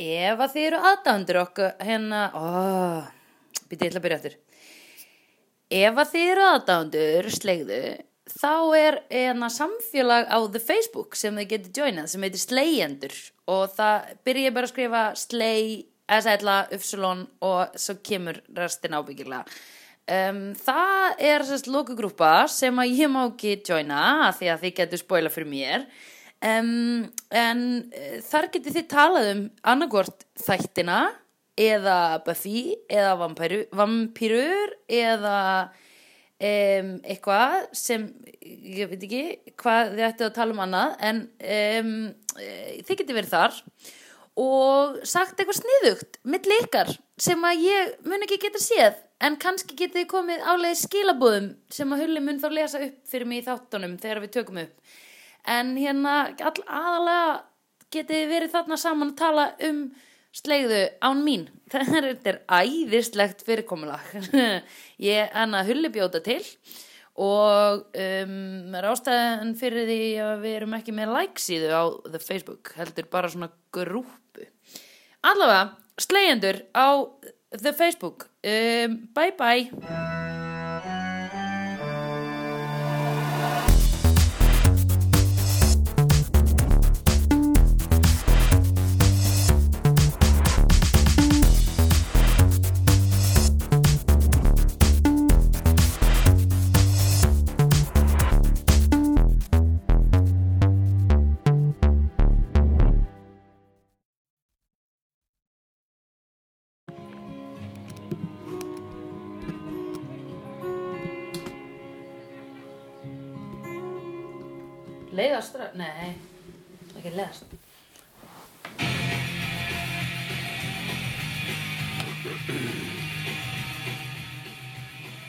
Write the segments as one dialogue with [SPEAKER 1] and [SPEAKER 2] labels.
[SPEAKER 1] ef að þið eru aðdándur okkur hérna, ó, býtti ég ætla að byrja eftir ef að þið eru aðdándur slegðu þá er hérna samfélag á the Facebook sem þið getur joinað sem heitir slegjendur og það byrja ég bara að skrifa slei, s-ætla, uppsulon og svo kemur restin ábyggilega Um, það er sérst lokugrúpa sem að ég má ekki joina af því að þið getur spoila fyrir mér um, en uh, þar getið þið talað um annarkvort þættina eða Buffy eða vampæru, vampýrur eða um, eitthvað sem ég veit ekki hvað þið ættu að tala um annað en um, uh, þið getið verið þar og sagt eitthvað sniðugt milli ykkar sem að ég mun ekki geta séð en kannski getið þið komið álega skilabóðum sem að Hulli mun þá lesa upp fyrir mig í þáttunum þegar við tökum upp en hérna all, aðalega getið þið verið þarna saman að tala um slegðu án mín það er, þetta er æðislegt fyrirkomulag ég enna Hulli bjóta til og um, er ástæðan fyrir því að við erum ekki með like síðu á the Facebook heldur bara svona grúpu allavega, slegjendur á the Facebook um, bye bye leiðast, stra- nei ekki leiðast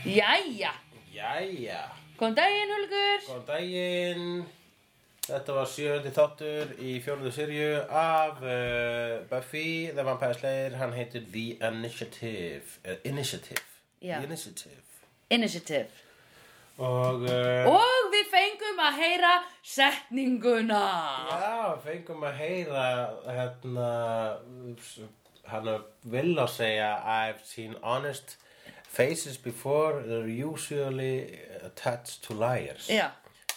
[SPEAKER 1] Jæja,
[SPEAKER 2] Jæja,
[SPEAKER 1] kom daginn Hulgur
[SPEAKER 2] góðan daginn Þetta var sjöndi þáttur í fjóruðu sirju af uh, Buffy, The Vampire Slayer Hann heitir The Initiative uh, Initiative
[SPEAKER 1] Já.
[SPEAKER 2] The Initiative
[SPEAKER 1] Initiative
[SPEAKER 2] Og uh,
[SPEAKER 1] Og eh, við fengum að heyra setninguna
[SPEAKER 2] Já, fengum að heyra hérna s- hann vil að segja I've seen honest faces before they're usually attached to liars
[SPEAKER 1] Já,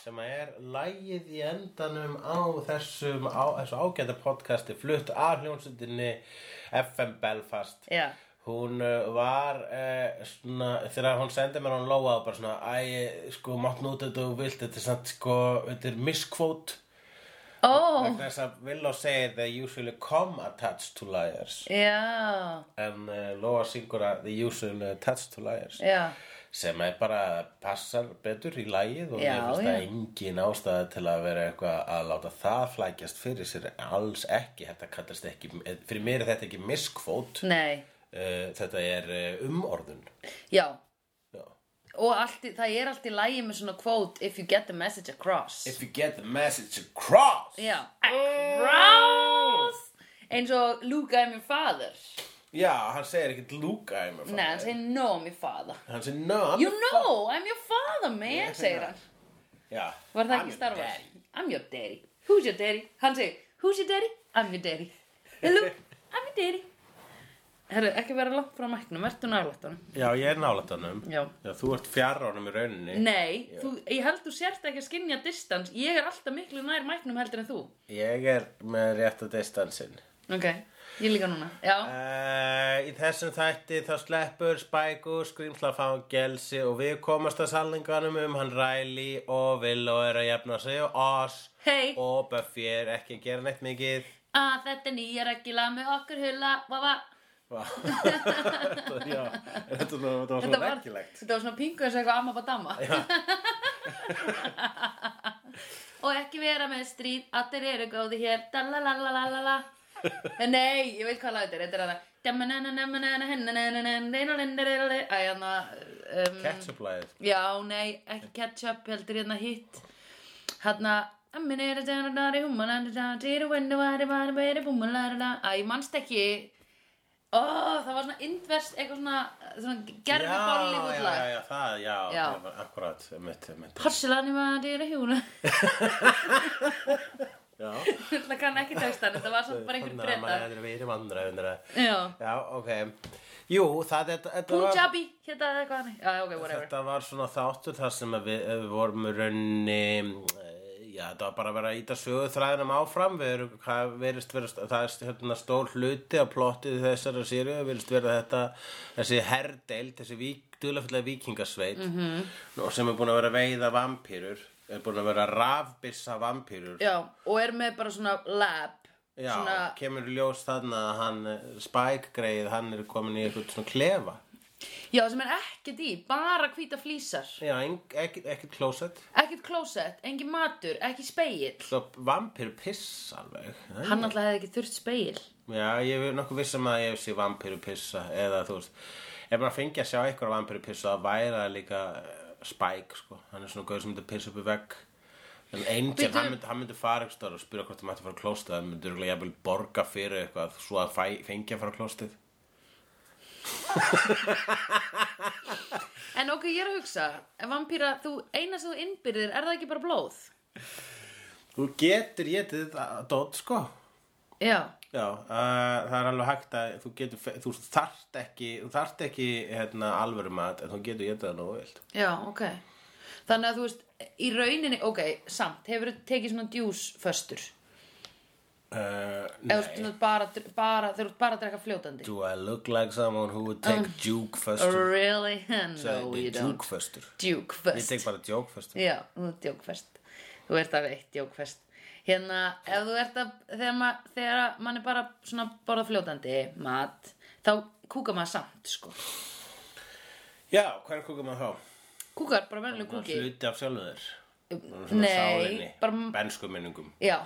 [SPEAKER 2] sem að er lægið í endanum á þessum á, þessu ágæta podcasti flutt af hljónsundinni FM Belfast
[SPEAKER 1] já,
[SPEAKER 2] hún uh, var uh, svona, þegar hún sendi mér hún lóa og bara svona, æ, sko, mátt nút þetta og vilt, þetta er samt, sko, þetta er miskvót
[SPEAKER 1] ó,
[SPEAKER 2] vegna þess að vil og segir they usually come attached to liars
[SPEAKER 1] já,
[SPEAKER 2] en uh, Lóa syngur að they usually attached to liars
[SPEAKER 1] já
[SPEAKER 2] sem er bara passar betur í lagið og
[SPEAKER 1] Já,
[SPEAKER 2] ég finnst
[SPEAKER 1] já.
[SPEAKER 2] það engin ástæða til að vera eitthvað að láta það flækjast fyrir sér alls ekki, þetta kallast ekki fyrir mér er þetta ekki miskvót uh,
[SPEAKER 1] Nei,
[SPEAKER 2] þetta er uh, umorðun
[SPEAKER 1] já
[SPEAKER 2] Já.
[SPEAKER 1] Og allt, í- það er allt í lægi með svona quote If you get the message across
[SPEAKER 2] If you get the message across
[SPEAKER 1] Já, across Eins og Luke, I'm your father
[SPEAKER 2] Já, hann segir ekkert Luke I'm a
[SPEAKER 1] Nei, hann
[SPEAKER 2] father
[SPEAKER 1] segir no, I'm your father
[SPEAKER 2] Hann segir no I'm
[SPEAKER 1] You
[SPEAKER 2] a fa-
[SPEAKER 1] know, I'm your father, man, segir hann
[SPEAKER 2] Já,
[SPEAKER 1] Var það
[SPEAKER 2] I'm
[SPEAKER 1] ekki
[SPEAKER 2] your
[SPEAKER 1] Star Wars?
[SPEAKER 2] daddy.
[SPEAKER 1] I'm your daddy Who's your daddy? Hann segir, who's your daddy? I'm your daddy Hey, Luke, I'm your daddy Herru, ekki vera langt frá mæknum, ertu nálægt honum?
[SPEAKER 2] Já, ég er nálætt honum
[SPEAKER 1] Já.
[SPEAKER 2] þú ert fjarr honum í rauninni
[SPEAKER 1] Nei, þú, ég held þú sért ekki að skinja distans Ég er alltaf miklu nær mæknum heldur en þú
[SPEAKER 2] Ég er með rétta distansinn
[SPEAKER 1] Ok, ég líka núna Já,
[SPEAKER 2] Uh, í þessum þætti þá sleppur Spike og Skrimslafangelsi og við komast að salninganum um hann Riley og Willow er að jafna sig og Oz
[SPEAKER 1] hei,
[SPEAKER 2] og Buffy er ekki að gera neitt mikið
[SPEAKER 1] að Ah, þetta er nýja regla með okkur hula Vava,
[SPEAKER 2] Vá. Þetta- Já, þetta var- þetta var
[SPEAKER 1] þetta
[SPEAKER 2] svona
[SPEAKER 1] var,
[SPEAKER 2] reggilegt
[SPEAKER 1] þetta var svona pingu eins og eitthvað amma badama Og ekki vera með stríð, allir eru góði hér Dalalalalala Nei, ég veit hvað lag þetta er, þetta er hana Djamananananana, henanananan, leinalindarilalli Æ, hana um,
[SPEAKER 2] Ketchuplæðið
[SPEAKER 1] Já, nei, ekki ketchup, heldur hérna hitt Hérna Æ, manst ekki Ó, það var svona indverst eitthvað svona, svona gerfi
[SPEAKER 2] já,
[SPEAKER 1] Bollywood
[SPEAKER 2] já,
[SPEAKER 1] lag
[SPEAKER 2] já, það, já,
[SPEAKER 1] Já.
[SPEAKER 2] það var akkurat mitt, mitt.
[SPEAKER 1] Porselani maður er að hjúna
[SPEAKER 2] Já.
[SPEAKER 1] Það kann ekki textan, þetta var samt bara einhver breyta
[SPEAKER 2] Það er Hérna, verið vandra undir það.
[SPEAKER 1] Já,
[SPEAKER 2] Já, ok. Jú, það þetta- þetta var...
[SPEAKER 1] Punjabi, hérna eða eitthvað hannig Já, ok, whatever
[SPEAKER 2] Þetta var svona þáttur þar sem að við, við vorum í raunni já, þetta var bara að vera að íta sögu þræðinum áfram við erum, hvað verist vera það er hérna stór hluti að plottið þessara sériu, verist vera þetta þessi herdeild, þessi vík, duðlefullega vikingasveit mm sem er búin að vera að veiða vampýrur er búin að vera að rafbissa vampýrur
[SPEAKER 1] Já, og er með bara svona lab
[SPEAKER 2] Já,
[SPEAKER 1] svona,
[SPEAKER 2] kemur í ljós þarna að hann eh, Spike greið, hann er komin í eitthvað svona klefa
[SPEAKER 1] já, sem er ekkert í, bara hvíta flísar
[SPEAKER 2] Já, eng- ekkert ekkert klósett
[SPEAKER 1] Ekkert klósett, engin matur, ekki speill
[SPEAKER 2] Svo vampir piss alveg eh?
[SPEAKER 1] Hann alltaf hefði ekki þurft speill
[SPEAKER 2] Já, ég er nokkuð vissum að ég sé vampiru pissa eða þú veist ef maður fengi að sjá eitthvað vampiru pissa að væri það líka eh, Spike sko, hann er svona gauð sem myndi pissa upp í vegg en Angel,
[SPEAKER 1] Bíddu.
[SPEAKER 2] hann myndi, hann myndi fara ekki stór og spyrja hvort það mætti að fara á klóstið hann myndi örugglega jafnvel borga fyrir eitthvað svo að fæ, fengi að fara á klóstið
[SPEAKER 1] En ok, ég er að hugsa, en vampíra, þú, eina sem þú innbyrðir, er það ekki bara blóð?
[SPEAKER 2] Þú getur getið þetta dót sko
[SPEAKER 1] Já,
[SPEAKER 2] Já, uh, það er alveg hægt að þú getur, fe- þú þarft ekki þú þarft ekki hérna, alvöru mat en þú getur getið það nógu vilt
[SPEAKER 1] já, ok Þannig að þú veist, í rauninni, ok, samt, hefur þú tekið svona djús föstur?
[SPEAKER 2] uh,
[SPEAKER 1] Eða þú veist, bara, bara, þegar þú ert bara að drekka fljótandi
[SPEAKER 2] Do I look like someone who would take juke fastur?
[SPEAKER 1] Really? Um, No, you don't
[SPEAKER 2] Juke fastur.
[SPEAKER 1] Djúk
[SPEAKER 2] Ég
[SPEAKER 1] fest
[SPEAKER 2] tek bara joke fastur.
[SPEAKER 1] Já, þú ert djókfest Þú ert af eitt djókfest Hérna, ef þú ert að þegar, ma, þegar mann er bara svona borða fljótandi mat, þá kúka maður samt, sko
[SPEAKER 2] Já, hvað er kúkum að þá?
[SPEAKER 1] Kúkar, bara verðileg
[SPEAKER 2] Svona
[SPEAKER 1] kúki Um,
[SPEAKER 2] Hluti af sjálfum þér. Svona
[SPEAKER 1] Nei,
[SPEAKER 2] sálinni,
[SPEAKER 1] bara,
[SPEAKER 2] Bensku minningum.
[SPEAKER 1] já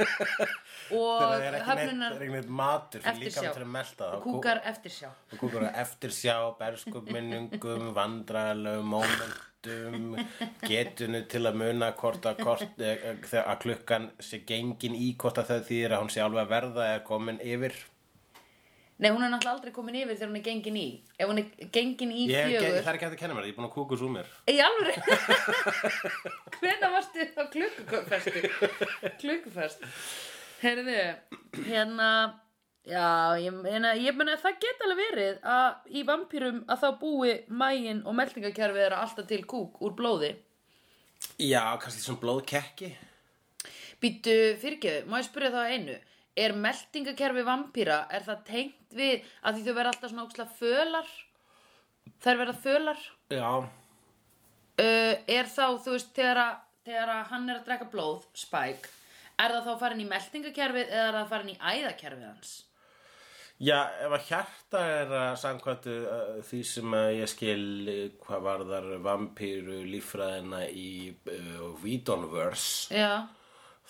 [SPEAKER 2] Þegar
[SPEAKER 1] Og
[SPEAKER 2] það er ekki neitt, það
[SPEAKER 1] höfnunar
[SPEAKER 2] er ekki neitt matur fyrir
[SPEAKER 1] Eftirsjá.
[SPEAKER 2] líka til að melta þá.
[SPEAKER 1] kúkar eftir sjá
[SPEAKER 2] Þú kúkar að eftirsjá, bensku minningum, vandræðalegu momentum, getunu til að muna hvort að, hvort, eh, eh, þegar að klukkan sé gengin í hvort að það þýðir að hún sé alveg að verða eða komin yfir.
[SPEAKER 1] Nei, hún er náttúrulega aldrei komin yfir þegar hún er gengin í Ef hún er gengin í
[SPEAKER 2] Ég, hef ekki- það
[SPEAKER 1] fjögur
[SPEAKER 2] er ekki hægt að kenna mér, það, ég er búin að kúka svo mér.
[SPEAKER 1] Í alveg Hvenær varstu á klukkufestu? Klukkufest Heyrðu, hérna Já, ég meina, ég meina það geta alveg verið að í vampýrum að þá búi mægin og meltingakerfið er alltaf til kúk úr blóði.
[SPEAKER 2] Já, kannski svona blóðkekki.
[SPEAKER 1] Býttu fyrirgeðu, má ég spyrja þá að einu. Er meltingakerfi vampýra, er það tengt við að því þau verða alltaf svona óksla fölar? Þær verða fölar?
[SPEAKER 2] Já.
[SPEAKER 1] uh, er þá, þú veist, þegar, að, þegar að hann er að drekka blóð, Spike, er það þá farin í meltingakerfið eða er það farin í æðakerfið hans?
[SPEAKER 2] Já, ef að hjarta er að samkvæmtu uh, því sem að ég skil uh, hvað varðar vampíru líffræðina í uh, Vidonverse,
[SPEAKER 1] Já,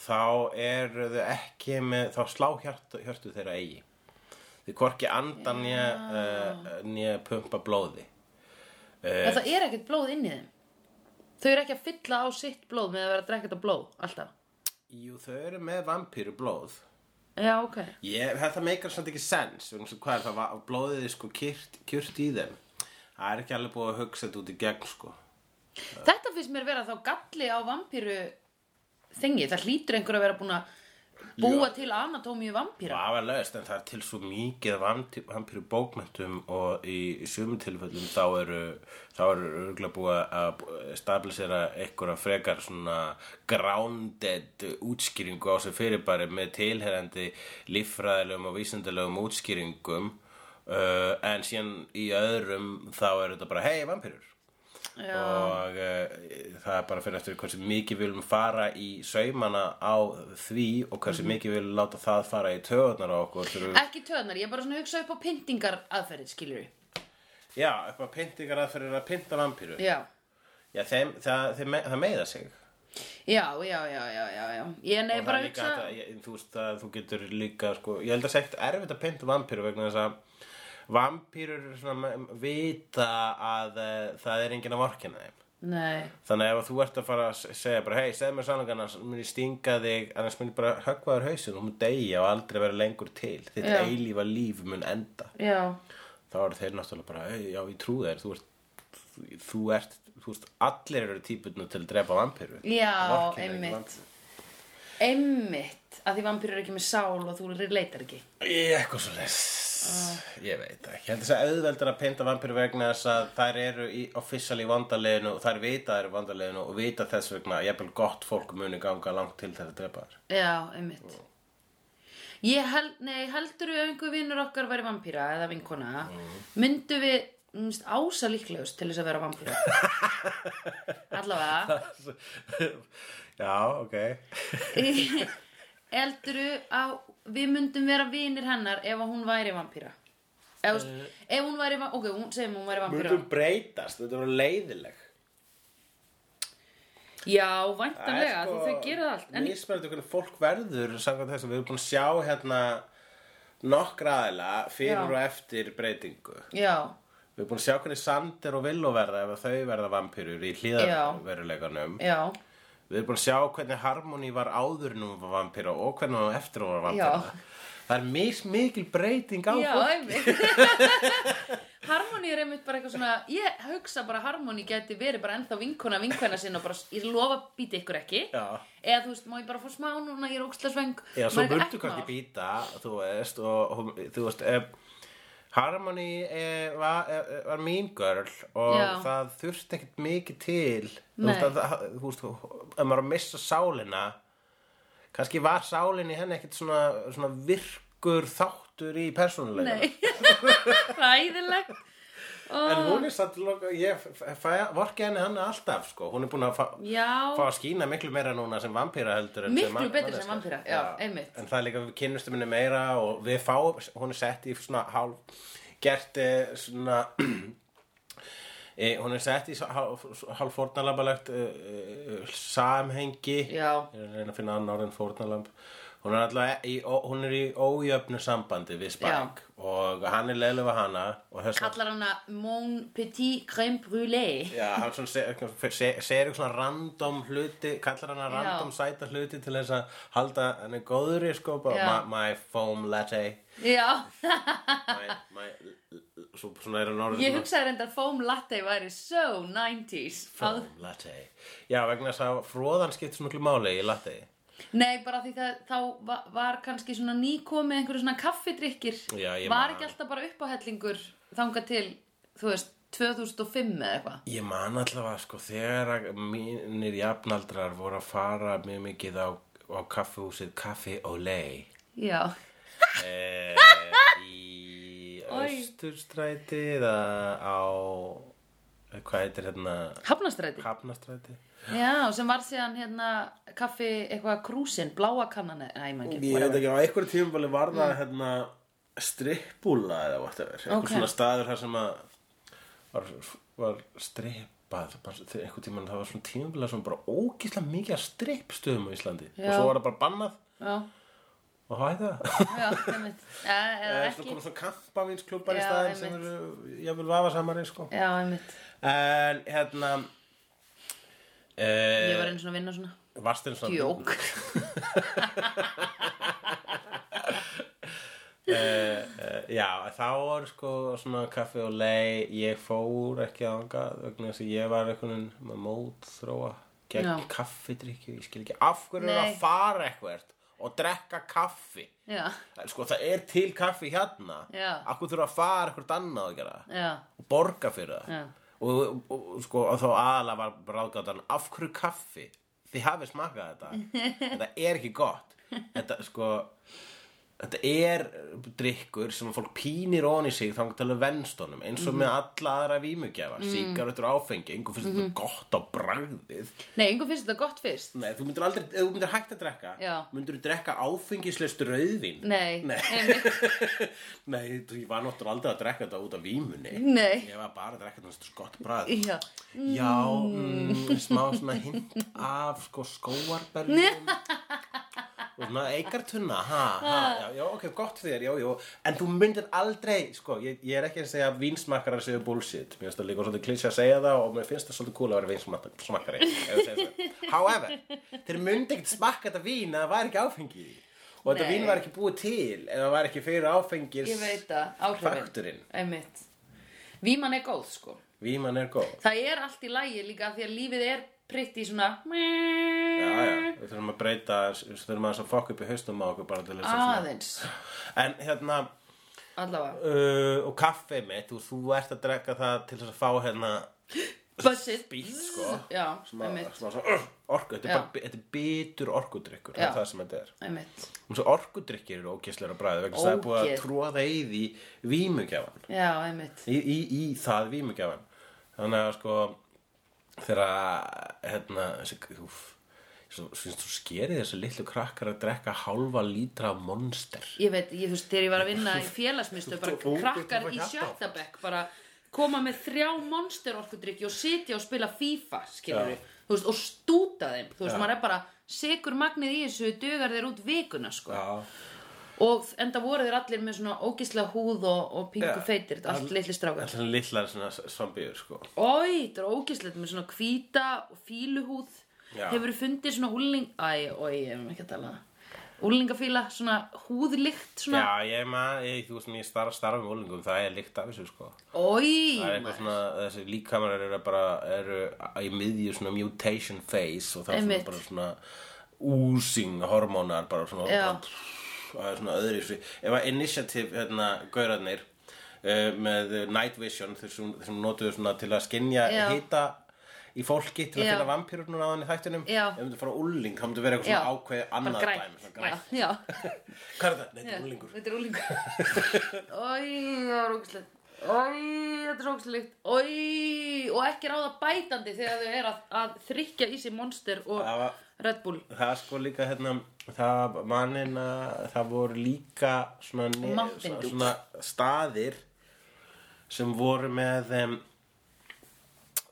[SPEAKER 2] þá eru þau ekki með, þá slá hjartu, hjartu þeirra eigi. Þau hvorki anda nýja, uh, nýja pumpa blóði.
[SPEAKER 1] Eh. en það er ekkert blóð inn í þeim. Þau eru ekki að fylla á sitt blóð með að vera að drekka þetta blóð, alltaf.
[SPEAKER 2] Jú, þau eru með vampíru blóð.
[SPEAKER 1] Já, ok.
[SPEAKER 2] Ég, þetta meikar samt ekki sens vegna þess að hvað er það, va- blóðið er sko kyrt, kyrt í þeim það er ekki alveg búið að hugsa þetta út í gegn sko
[SPEAKER 1] Þetta finnst mér vera þá galli á vampíru þingi. Það hlýtur einhver að vera búin að búa til anatómíu vampíra.
[SPEAKER 2] það var lögst en það er til svo mikið vampíru bókmentum og í, í sumum tilfellum þá eru þá eru örgulega búið að stabilisera einhverja frekar svona grounded útskýringu á sér fyrirbæri með tilherandi líffræðilegum og vísindalegum útskýringum uh, en síðan í öðrum þá er þetta bara hei vampírur
[SPEAKER 1] Já.
[SPEAKER 2] og uh, það er bara fyrir eftir hversu mikið við viljum fara í saumana á því og hversu
[SPEAKER 1] Mhm.
[SPEAKER 2] mikið við viljum láta það fara í töðunar á okkur þurfum,
[SPEAKER 1] Ekki töðnar, ég er bara svona að hugsa upp á pyntingar aðferðið, skilur við.
[SPEAKER 2] já, upp á pyntingar að fyrir að pynta vampíru
[SPEAKER 1] Já.
[SPEAKER 2] já, þeim, það, þeim, me- það meiða sig
[SPEAKER 1] Já, já, já, já, já, já. Ég nei
[SPEAKER 2] og það
[SPEAKER 1] bara
[SPEAKER 2] er
[SPEAKER 1] að
[SPEAKER 2] líka
[SPEAKER 1] hugsa...
[SPEAKER 2] þetta, ég, þú veist að þú getur líka sko, ég held að segt erfitt að pynta vampíru vegna þess að vampírur eru svona me- vita að uh, það er enginn að vorkina þeim
[SPEAKER 1] Nei.
[SPEAKER 2] Þannig að ef þú ert að fara að segja bara hei, segð mér sannleika annars mun ég stinga þig annars mun ég bara höggva þér hausinn og mun deyja og aldrei vera lengur til þitt
[SPEAKER 1] Já.
[SPEAKER 2] eilífa líf mun enda
[SPEAKER 1] Já,
[SPEAKER 2] þá eru þeir náttúrulega bara hei, já, ég trú þér, þú ert þú, þú ert, þú veist, allir eru típutinu til að drepa vampíru
[SPEAKER 1] já
[SPEAKER 2] Vorkenna ekki
[SPEAKER 1] einmitt
[SPEAKER 2] vampíru.
[SPEAKER 1] Einmitt, að því vampýrur eru ekki með sál og þú leitar ekki
[SPEAKER 2] Ég eitthvað svo
[SPEAKER 1] Ah.
[SPEAKER 2] Ég veit það ekki. Ég held þess að auðveldur að pynta vampíru vegna þess að þær eru í, official í vandarleginu og þær vita þær í vandarleginu og vita þess vegna að jafnvel gott fólk muni ganga langt til þeirra drepa þær.
[SPEAKER 1] Já, einmitt Ég held, nei, heldur við ef einhver vinnur okkar væri vampýra eða vinkona myndu við mm, veist, ása líklegust til þess að vera vampýra Allavega
[SPEAKER 2] Já, ok.
[SPEAKER 1] heldur við að við myndum vera vinir hennar ef að hún væri vampýra Ef, uh, ef hún væri, va- ok, hún segjum hún væri vampýra
[SPEAKER 2] Mundum breytast, þetta voru leiðileg.
[SPEAKER 1] Já, væntanlega, sko, þau gera það allt en,
[SPEAKER 2] Mísmennandi hvernig fólk verður samkvæmt þess að við erum búin að sjá hérna nokkra aðila fyrir
[SPEAKER 1] Já.
[SPEAKER 2] og eftir breytingu.
[SPEAKER 1] Já,
[SPEAKER 2] Við erum búin að sjá hvernig Sander og Villó verða ef að þau verða vampýrur í hlýðarveruleikanum.
[SPEAKER 1] já,
[SPEAKER 2] Við erum búin að sjá hvernig Harmony var áður en hún var vampýra og hvernig hún var eftir hún var vampýra. Það er mis mikil breyting á
[SPEAKER 1] já,
[SPEAKER 2] fólk.
[SPEAKER 1] einmitt Harmony er einmitt bara eitthvað svona Ég hugsa bara að Harmony geti verið bara ennþá vinkona vinkvæna sinna og bara, ég lofa býti ykkur ekki
[SPEAKER 2] Já.
[SPEAKER 1] Eða þú veist, má ég bara fá smá núna, ég er óksla sveng
[SPEAKER 2] Já, svo myndu kannski býta, þú veist, og hún- þú veist, um, Harmony eh, var, eh, var mín girl og
[SPEAKER 1] Já.
[SPEAKER 2] það þurfti ekkert mikið til, þú
[SPEAKER 1] Nei.
[SPEAKER 2] veist, að, það- þú veist, ef maður er að missa sálina, kannski var sálin í henni ekkert svona, svona virkur þáttur í persónulega.
[SPEAKER 1] Nei, ræðilegt
[SPEAKER 2] En hún er satt, loka- ég f- fæ- vorki henni hann alltaf, sko, hún er búin að fá,
[SPEAKER 1] Já,
[SPEAKER 2] fá að skína miklu meira núna sem vampýra heldur en
[SPEAKER 1] Miklu
[SPEAKER 2] sem man-
[SPEAKER 1] betur
[SPEAKER 2] manneskja.
[SPEAKER 1] sem vampíra, já, einmitt.
[SPEAKER 2] En það er líka við kynnustum henni meira og við fáum, hún er sett í svona hálf, gert eh, svona, e, hún er sett í svo- hálf, hálf fórnalabalegt e, e, samhengi.
[SPEAKER 1] Já.
[SPEAKER 2] Ég er að reyna að finna annar en fórnalamb. Hún er alltaf í, ó- hún er í ójöfnu sambandi við Spike og hann er leiðlega við hana og þess
[SPEAKER 1] kallar hana Mon Petit Crème Brûlée
[SPEAKER 2] Já, hann svona segir eitthvað- se- segir eitthvað svona random hluti, kallar hann að
[SPEAKER 1] Já.
[SPEAKER 2] random sæta hluti til þess að halda hann er góður í sko,
[SPEAKER 1] Já.
[SPEAKER 2] bara my, my foam latte,
[SPEAKER 1] Já,
[SPEAKER 2] my, my, svo, svona er hann orðið
[SPEAKER 1] ég
[SPEAKER 2] svona,
[SPEAKER 1] hugsaði reyndar foam latte væri so 90s
[SPEAKER 2] foam latte. Já, vegna þess að fróðan skipt svona miklu máli í latte.
[SPEAKER 1] Nei, bara því það, þá va- var kannski svona nýkomið einhverju svona kaffidrykkir
[SPEAKER 2] Já, ég man.
[SPEAKER 1] Var ekki alltaf bara uppáhellingur þangað til, þú veist, 2005 eða eitthvað
[SPEAKER 2] Ég man allavega sko þegar að mínir jafnaldrar voru að fara mjög mikið á, á kaffihúsið Kaffi Olei.
[SPEAKER 1] Já,
[SPEAKER 2] Eh, í
[SPEAKER 1] Oj.
[SPEAKER 2] austurstræti eða á hvað heitir hérna
[SPEAKER 1] hafnastræti
[SPEAKER 2] hafnastræti
[SPEAKER 1] Já, sem var síðan hérna kaffi eitthvað krúsin, bláa kannan eða ég maður
[SPEAKER 2] ég veit ekki á einhverjum tímabali var það hérna strippúla eða whatever einhver
[SPEAKER 1] Ok.
[SPEAKER 2] svona staður þar sem að var, var strippað bara þegar einhver tímann það var svona tímabili sem bara ógislega mikið að strippstöðum á Íslandi og
[SPEAKER 1] Já.
[SPEAKER 2] svo var það bara bannað
[SPEAKER 1] Já,
[SPEAKER 2] og hæði það
[SPEAKER 1] já, einmitt Já, eða
[SPEAKER 2] eða
[SPEAKER 1] ekki
[SPEAKER 2] svona svona kampavínsklubbar í
[SPEAKER 1] Já,
[SPEAKER 2] staðin sem
[SPEAKER 1] einmitt.
[SPEAKER 2] eru jafnvel vafasamari sko
[SPEAKER 1] Já, einmitt
[SPEAKER 2] En hérna
[SPEAKER 1] Ég
[SPEAKER 2] uh,
[SPEAKER 1] var einu svona að vinna svona
[SPEAKER 2] Varst einu svona
[SPEAKER 1] Jók
[SPEAKER 2] Eh, Já, þá var sko svona kaffi og lei Ég fór ekki þangað vegna þess að ég var einhvern veginn með mótþróa gegn
[SPEAKER 1] Já.
[SPEAKER 2] kaffidrykkju, ég skil ekki af hverju er
[SPEAKER 1] Nei.
[SPEAKER 2] að fara eitthvert og drekka kaffi
[SPEAKER 1] Já,
[SPEAKER 2] Sko, það er til kaffi hérna
[SPEAKER 1] Já.
[SPEAKER 2] Af hverju þurfa að fara eitthvert annað að gera það
[SPEAKER 1] já,
[SPEAKER 2] og borga fyrir það
[SPEAKER 1] Já.
[SPEAKER 2] og, og, og sko og þá aðalega var ráðgáttan af hverju kaffi þið hafið smakað þetta þetta er ekki gott þetta sko þetta er drikkur sem fólk pínir ón í sig þannig til að vennstónum eins og
[SPEAKER 1] Mhm.
[SPEAKER 2] með alla aðra vímugjafa mm. sígarettur og áfengi, einhver finnst þetta gott á bragðið
[SPEAKER 1] Nei, einhver finnst þetta gott fyrst
[SPEAKER 2] Nei, þú myndir aldrei, ef þú myndir hægt að drekka
[SPEAKER 1] Já.
[SPEAKER 2] myndir þú drekka áfengislest rauðvín
[SPEAKER 1] Nei,
[SPEAKER 2] Nei.
[SPEAKER 1] einmitt
[SPEAKER 2] Nei, þú- ég var náttúrulega aldrei að drekka þetta út af vímunni
[SPEAKER 1] Nei,
[SPEAKER 2] Ég var bara að drekka þetta skott bragð
[SPEAKER 1] já,
[SPEAKER 2] Já, mm, smá svona hint af sko skóarbergjum og svona eikartunna, ha, ha, já, já, ok, gott fyrir, þér, já, já, en þú myndir aldrei, sko, ég, ég er ekki að segja að vínsmakkarar séu bullshit, mér finnst það líka svolítið klísi að segja það og mér finnst það svolítið cool að vera vínsmakkari, ef ég segja það. However, þeir myndi ekkert smakka þetta vín að það var ekki áfengi í því. og þetta
[SPEAKER 1] Nei.
[SPEAKER 2] vín var ekki búið til ef það var ekki fyrir áfengis
[SPEAKER 1] ég veit það, áhrifin
[SPEAKER 2] fakturinn.
[SPEAKER 1] Einmitt Víman er góð, sko
[SPEAKER 2] Víman er góð.
[SPEAKER 1] Það er allt í lagi líka af því að lífið er pritti svona
[SPEAKER 2] Já, já,
[SPEAKER 1] Mm.
[SPEAKER 2] við þurfum að breyta, við þurfum að þess að fokka upp í haustum á okkur bara til þess að
[SPEAKER 1] aðeins
[SPEAKER 2] En hérna,
[SPEAKER 1] allavega
[SPEAKER 2] uh, og kaffi mitt, þú, þú ert að drekka það til þess að fá hérna
[SPEAKER 1] Buzzið
[SPEAKER 2] bíl, sko
[SPEAKER 1] Mm. Já,
[SPEAKER 2] Smá,
[SPEAKER 1] einmitt,
[SPEAKER 2] smá, smá, orku, þetta er,
[SPEAKER 1] Já.
[SPEAKER 2] bara, þetta er bitur orkudrykkur,
[SPEAKER 1] Já.
[SPEAKER 2] það er það sem þetta er
[SPEAKER 1] einmitt
[SPEAKER 2] Og svo orkudrykkir eru ógeðslega bræði vegna þess að það er búið að
[SPEAKER 1] Ógeð.
[SPEAKER 2] tróða í því vímugjafan
[SPEAKER 1] Já, einmitt
[SPEAKER 2] í, í, í það vímugjafan þannig að sko þegar hérna þessi, úf, svo, svo, svo skerið þessu litlu krakkar að drekka hálfa lítra af monster
[SPEAKER 1] Ég veit, ég þú veist, þegar ég var að vinna í félagsmyndstöð bara
[SPEAKER 2] Þú- þú-
[SPEAKER 1] krakkar
[SPEAKER 2] þú- þú-
[SPEAKER 1] í
[SPEAKER 2] þú-
[SPEAKER 1] Sjöldabekk bara koma með þrjá monster orkudrykki og sitja og spila FIFA, skilur
[SPEAKER 2] Já.
[SPEAKER 1] þú veist, og stúta þeim, þú veist,
[SPEAKER 2] Já.
[SPEAKER 1] maður er bara sigur magnið í þessu, dugar þeir út vikuna, sko,
[SPEAKER 2] Já,
[SPEAKER 1] og enda voru þeir allir með svona ógislega húð og, og pingu
[SPEAKER 2] Já.
[SPEAKER 1] feitir, allt litli strákar
[SPEAKER 2] alltaf litlar svona svambýður sko
[SPEAKER 1] Ói, þetta er ógæslegt með svona hvíta og fíluhúð
[SPEAKER 2] Já.
[SPEAKER 1] Hefur fundið svona húling Æ, ói, ég hef ekki að tala um það Húlingafíla, svona húðlykt svona.
[SPEAKER 2] Já, ég maður, ég, þú veist, mér starf, starf með úlingum, það er líkt af þessu sko
[SPEAKER 1] Ói,
[SPEAKER 2] Það er eitthvað svona, þessi líkamarar eru bara, eru í miðju svona mutation phase og það er
[SPEAKER 1] Einmitt.
[SPEAKER 2] svona bara svona oozing hormónar bara svona,
[SPEAKER 1] Já.
[SPEAKER 2] bara, það er svona öðru ef að initiative, hérna, gaurarnir uh, með night vision þeir sem, þeir sem notuðu svona til að skinja
[SPEAKER 1] Já.
[SPEAKER 2] hita í fólki til að
[SPEAKER 1] Já.
[SPEAKER 2] finna vampýrur núna á hann í þættinum
[SPEAKER 1] Já.
[SPEAKER 2] ef myndi fara úling, þá myndi vera eitthvað
[SPEAKER 1] Já.
[SPEAKER 2] svona ákveðið
[SPEAKER 1] bara
[SPEAKER 2] annað
[SPEAKER 1] græn
[SPEAKER 2] dæmi, svona grænt.
[SPEAKER 1] Já,
[SPEAKER 2] Hvað er það? Nei, þetta
[SPEAKER 1] já.
[SPEAKER 2] er úlingur
[SPEAKER 1] Þetta er húlingur Ói, það er ógæslegt Ói, þetta er ógæslegt Ói, og ekki ráða bætandi þegar þau er að, að þrykja í sig monster og
[SPEAKER 2] Það var-
[SPEAKER 1] Red Bull
[SPEAKER 2] það er sko líka hérna það mannina, það voru líka svona, ne-
[SPEAKER 1] Mountain Dew.
[SPEAKER 2] svona staðir sem voru með um,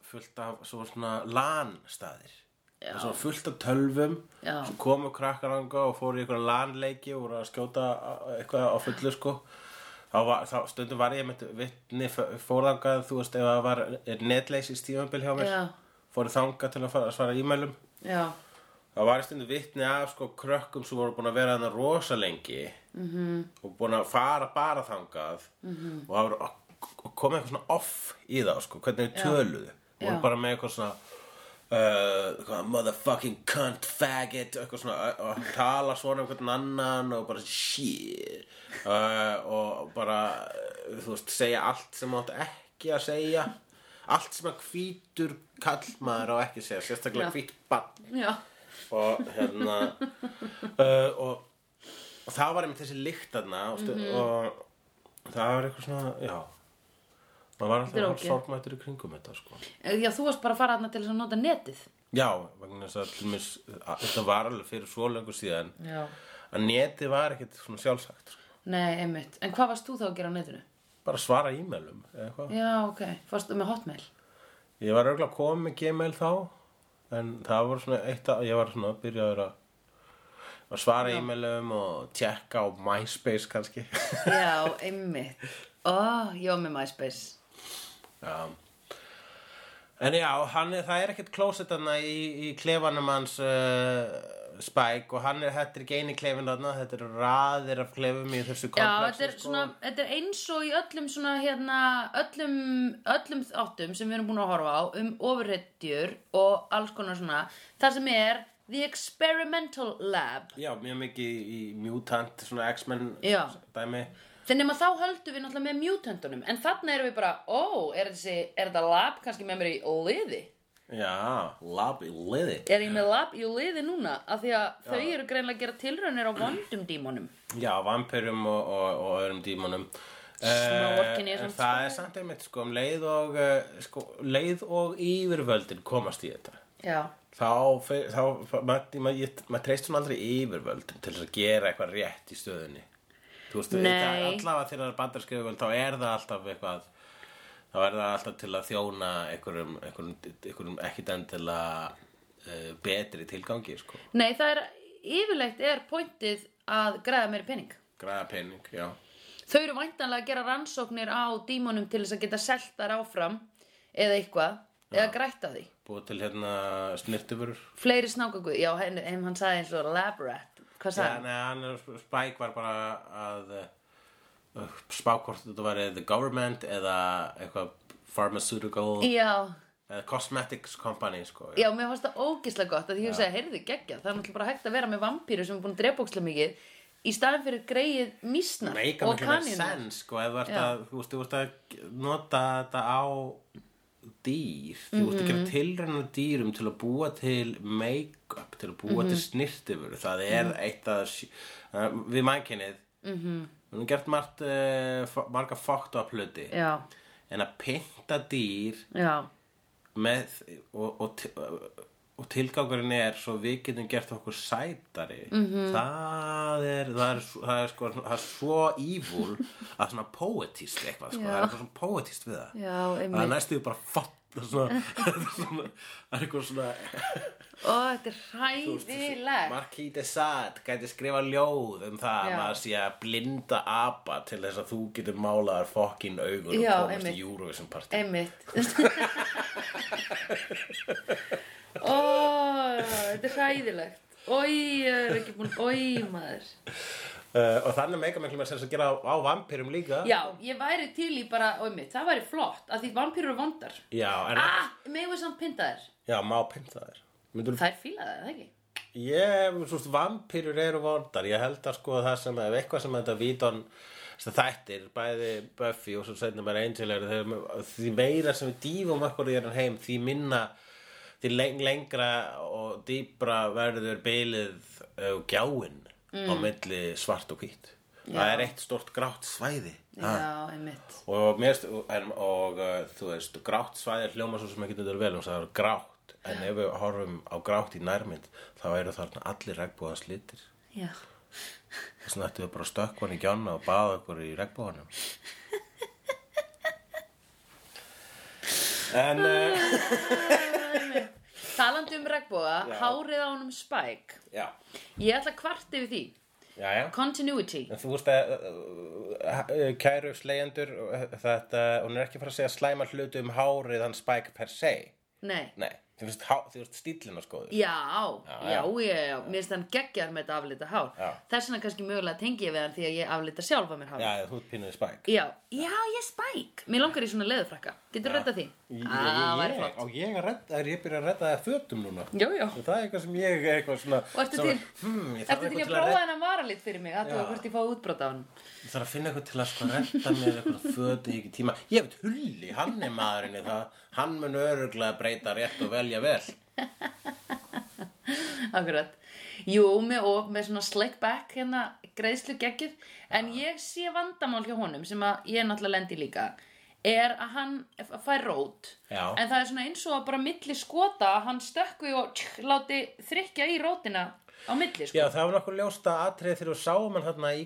[SPEAKER 2] fullt af svo svona LAN staðir
[SPEAKER 1] Já.
[SPEAKER 2] svona fullt af tölvum
[SPEAKER 1] Já.
[SPEAKER 2] sem komu krakkar anga og fóru í einhverja LAN-leiki og voru að skjóta á- eitthvað á fullu sko þá, var, þá stundum var ég með vittni fórðangað þú veist ef það var netleysi stífambil hjá mér
[SPEAKER 1] Já.
[SPEAKER 2] fóru þangað til að fara, svara e-mailum
[SPEAKER 1] Já,
[SPEAKER 2] Það var í stundu vitni af sko krökkum sem voru búin að vera þannig rosa lengi
[SPEAKER 1] Mhm.
[SPEAKER 2] -hmm. og búin að fara bara þangað -hmm. og það voru og komið eitthvað svona off í þá sko, hvernig þau töluðu og
[SPEAKER 1] Já.
[SPEAKER 2] voru bara með eitthvað svona Uh, eitthvað, motherfucking cunt faggot eitthvað svona uh, og tala svona um hvern annan og bara shit uh, og bara uh, þú veist segja allt sem átt ekki að segja allt sem að hvítur kallmaður á ekki að segja sérstaklega
[SPEAKER 1] Já.
[SPEAKER 2] hvít bann
[SPEAKER 1] já,
[SPEAKER 2] og hérna uh, og, og það var einmitt þessi lykt þarna og, stu,
[SPEAKER 1] Mhm.
[SPEAKER 2] og það var eitthvað svona já maður var alltaf
[SPEAKER 1] Þetta er
[SPEAKER 2] hálf
[SPEAKER 1] ógeð.
[SPEAKER 2] sorgmættur í kringum þetta sko
[SPEAKER 1] Eh, já, þú varst bara að fara þarna til þess að nota netið
[SPEAKER 2] já, vegna þess að til mér þetta var alveg fyrir svo lengur síðan
[SPEAKER 1] Já.
[SPEAKER 2] að netið var ekkert svona sjálfsagt sko.
[SPEAKER 1] Nei, einmitt. En hvað varst þú þá að gera á netinu?
[SPEAKER 2] bara svara e-mailum eða eitthvað
[SPEAKER 1] Já, ok. Fórstu með hotmail?
[SPEAKER 2] ég var auðvitað komið með gmail þá en það var svona eitt að ég var svona byrjaður að að svara e-mailum og tjekka á MySpace kannski
[SPEAKER 1] Já, einmitt. Ó, ég var með MySpace.
[SPEAKER 2] Já. Um, En já, hann, er- það er ekkert klósett þarna í, í klefanum hans uh, Spike og hann er, þetta er ekki eini klefin þarna, þetta er raðir af klefum í þessu
[SPEAKER 1] Já,
[SPEAKER 2] komplexi.
[SPEAKER 1] þetta er,
[SPEAKER 2] sko.
[SPEAKER 1] svona, þetta er eins og í öllum svona hérna, öllum, öllum áttum sem við erum búin að horfa á um ofurhetjur og alls konar svona. Það sem er The Experimental Lab.
[SPEAKER 2] Já, mjög mikið í, í Mutant, svona X-Men
[SPEAKER 1] Já.
[SPEAKER 2] dæmi.
[SPEAKER 1] Þannig að þá höldum við náttúrulega með mutantunum. En þarna erum við bara, ó, er, þessi, er þetta lab kannski með mér í liði?
[SPEAKER 2] Já, lab í liði.
[SPEAKER 1] Er ég með lab í liði núna? Af því að þau eru greinlega að gera tilraunir á vondum dímonum.
[SPEAKER 2] Já, vampirum og, og, og öðrum dímonum
[SPEAKER 1] Snorkin í
[SPEAKER 2] Eh,
[SPEAKER 1] þessum
[SPEAKER 2] en Það er samt einmitt sko um leið og, eh, sko, leið og yfirvöldin komast í þetta.
[SPEAKER 1] Já.
[SPEAKER 2] þá, fer- þá maður ma, ég- maður treystir hún aldrei yfirvöld til þess að gera eitthvað rétt í stöðunni þú veist,
[SPEAKER 1] Nei.
[SPEAKER 2] þetta er allavega þegar bandarska yfirvöld þá er það alltaf eitthvað þá er það alltaf til að þjóna einhverjum, einhverjum, einhverjum ekkit endilega uh, betri tilgangi sko.
[SPEAKER 1] Nei, það er, yfirleitt er pointið að græða meiri pening.
[SPEAKER 2] græða pening, já
[SPEAKER 1] Þau eru væntanlega að gera rannsóknir á dímonum til þess að geta selt þar áfram eða eitthvað, eða grætta því.
[SPEAKER 2] búið til hérna snirtifurur
[SPEAKER 1] Fleiri snákaguð, já, henn, henn hann sagði eins og lab rat. Hvað sagði
[SPEAKER 2] Já,
[SPEAKER 1] hann?
[SPEAKER 2] nei, hann er, Spike var bara að uh, spá hvort þetta væri the government eða eitthvað pharmaceutical
[SPEAKER 1] Já,
[SPEAKER 2] eða Eh, Cosmetics Company sko
[SPEAKER 1] Já, mér fannst það ógislega gott að því ég hugsaði, heyrðu, geggja, það er náttúrulega bara hægt að vera með vampýru sem er búin að drepa ógislega mikið í staðin fyrir greið mísnar
[SPEAKER 2] meika
[SPEAKER 1] og
[SPEAKER 2] miklu með
[SPEAKER 1] kanínar.
[SPEAKER 2] sens sko ef þú ert
[SPEAKER 1] Já.
[SPEAKER 2] að, þú veist, þú ert að nota þetta á dýr þú ert að gera tilrænum dýrum til að búa til make-up til að búa til snirtifur það er eitt að sj- uh, við mannkynnið mm
[SPEAKER 1] Mm-hmm.
[SPEAKER 2] -hmm. við erum gert margt, uh, fo- marga fókt á hluti
[SPEAKER 1] Já,
[SPEAKER 2] en að pynta dýr
[SPEAKER 1] já,
[SPEAKER 2] með og, og, til- og tilgangurinn er svo við getum gert okkur sætari
[SPEAKER 1] Mhm.
[SPEAKER 2] -hmm. það, er, það, er, svo- það er sko það er svo evil að svona poetist eitthvað sko.
[SPEAKER 1] Já.
[SPEAKER 2] það er eitthvað svona poetist við það
[SPEAKER 1] já,
[SPEAKER 2] það er
[SPEAKER 1] einmitt.
[SPEAKER 2] næstu bara fatt það er svona, það er eitthvað svona
[SPEAKER 1] Ó, þetta er hræðilegt.
[SPEAKER 2] Marquis de Sade gæti skrifa ljóð um það
[SPEAKER 1] Já.
[SPEAKER 2] að maður sé að blinda apa til þess að þú getur málaðar fokkin augun
[SPEAKER 1] Já,
[SPEAKER 2] og komast
[SPEAKER 1] einmitt.
[SPEAKER 2] í Eurovision partí
[SPEAKER 1] Einmitt. Ó, þetta er hræðilegt. Ói, ég er ekki búin, ói, maður.
[SPEAKER 2] Uh, og þannig meika miklu með sens að gera á, á vampýrum líka
[SPEAKER 1] Já, ég væri til í bara, ói, mitt, það væri flott, að því vampýrur eru vondar.
[SPEAKER 2] já, en,
[SPEAKER 1] Ah, megum við samt pynta þær.
[SPEAKER 2] já má pynta þér Myndur,
[SPEAKER 1] Þær fílaði það ekki.
[SPEAKER 2] ég, svo veist, vampýrur eru vondar ég held að sko það sem ef eitthvað sem þetta víton þættir, bæði Buffy og svo setna bara Angel eru þeir, því meira sem við dýfum okkur í þennan heim, því minna því leng, lengra og dýpra verður bylið uh, gjáin á milli svart og hvít það er eitt stort grátt svæði
[SPEAKER 1] Já, einmitt.
[SPEAKER 2] og, mérst, og, en- og uh, þú veist, grátt svæðir hljóma svo sem ekki þetta er vel um það er grátt en ef við horfum á grátt í nærmynd þá eru þarna allir regnbúða slítir
[SPEAKER 1] Já.
[SPEAKER 2] þess vegna ættum við bara að stökkvan í gjána og baða okkur í regnbúðanum en uh,
[SPEAKER 1] Talandi um regnbóða, hárið á honum Spike.
[SPEAKER 2] já,
[SPEAKER 1] Ég ætla að kvart yfir því.
[SPEAKER 2] já, já
[SPEAKER 1] Continuity.
[SPEAKER 2] En Þú veist að uh, uh, kæru slegjendur uh, þetta, hún er ekki fara að segja slæma hluti um hárið hann Spike per se
[SPEAKER 1] Nei.
[SPEAKER 2] Nei, þú veist, há- þú veist stílina skoður
[SPEAKER 1] Já,
[SPEAKER 2] Já,
[SPEAKER 1] já, já,
[SPEAKER 2] já.
[SPEAKER 1] já, mér finnst hann geggjar með þetta aflita hár.
[SPEAKER 2] Já.
[SPEAKER 1] Þess vegna kannski mögulega tengi ég við hann því að ég aflita sjálfa mér hár.
[SPEAKER 2] Já, já, þú ert pínuði spæk
[SPEAKER 1] Já, já, ég er Spike. Mér langar í svona leðurfrakka. Getur redda því?
[SPEAKER 2] Ég-
[SPEAKER 1] Á, Ah,
[SPEAKER 2] ég-
[SPEAKER 1] væri
[SPEAKER 2] ég-
[SPEAKER 1] flott.
[SPEAKER 2] Og ég er redd, er ég byrja að redda það fötum núna
[SPEAKER 1] Já, já.
[SPEAKER 2] Og Það er eitthvað sem ég er eitthvað svona
[SPEAKER 1] Og ertu
[SPEAKER 2] sem-
[SPEAKER 1] til,
[SPEAKER 2] hmm, ég þarf
[SPEAKER 1] ertu til að
[SPEAKER 2] eitthvað til að
[SPEAKER 1] prófa
[SPEAKER 2] redda-
[SPEAKER 1] hennar varalit fyrir mig, að þú
[SPEAKER 2] Já.
[SPEAKER 1] hvort ég fá útbrota á hann.
[SPEAKER 2] Ég þarf að finna eitthvað til að sko redda mér eitthvað föt í ekki tíma Ég veit hulli, hann er maðurinn í það Hann mun öruglega breyta rétt og velja vel
[SPEAKER 1] Akkurat. Jú, með, og með svona slick back hérna greiðslu geggir, en ég sé vandamál hjá honum sem að ég náttúrulega lendi í líka, er að hann f- fær rót,
[SPEAKER 2] Já.
[SPEAKER 1] en það er svona eins og að bara milli skota, að hann stökkvi og tsk, láti þrykja í rótina á milli, sko.
[SPEAKER 2] Já, það var nokkuð ljósta atrið þegar þú sáum hann þarna í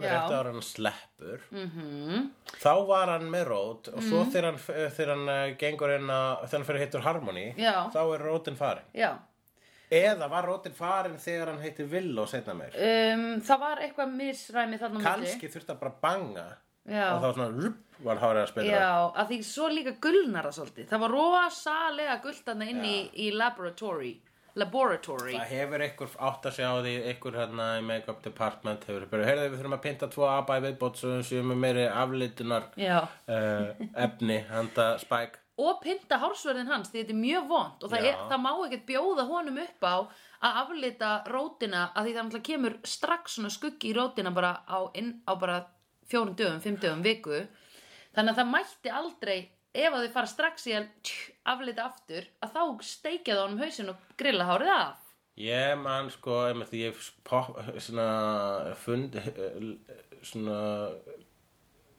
[SPEAKER 1] Já. Mhm.
[SPEAKER 2] Rétt ára hann sleppur -hmm. Þá var hann með rót Og svo þegar hann, þegar hann eh, gengur inn að Þegar hann fyrir hittur Harmony
[SPEAKER 1] Já.
[SPEAKER 2] Þá er rótin farin
[SPEAKER 1] Já.
[SPEAKER 2] Eða var rótin farin þegar hann heitir Villó setna meir.
[SPEAKER 1] Um, það var eitthvað misræmi þarna á milli.
[SPEAKER 2] Kanski þurfti að bara banga
[SPEAKER 1] Já.
[SPEAKER 2] og þá svona rup, var hárið að spila.
[SPEAKER 1] Já, að því svo líka gulnar það svolítið. Það var rosalega gult þarna inn í, í laboratory. Laboratory.
[SPEAKER 2] Það hefur einhver átt að sjá því, einhver hérna í make-up department hefur bara, heyrðu við þurfum að pynta tvo apa í viðbót svo sem er meiri aflitunar
[SPEAKER 1] Já.
[SPEAKER 2] uh, efni, handa Spike.
[SPEAKER 1] og pynta hársverðin hans því þetta er mjög vond og það,
[SPEAKER 2] Já.
[SPEAKER 1] er, það má ekkert bjóða honum upp á að aflita rótina að því það náttúrulega kemur strax svona skuggi í rótina bara á, inn, á bara fjórum dögum, fimm dögum, viku þannig að það mætti aldrei ef að þau fara strax í að tjú, aflita aftur að þá steikja það honum hausinn og grilla hárið af
[SPEAKER 2] Ég man sko, einmitt því ég pop, svona fund, svona,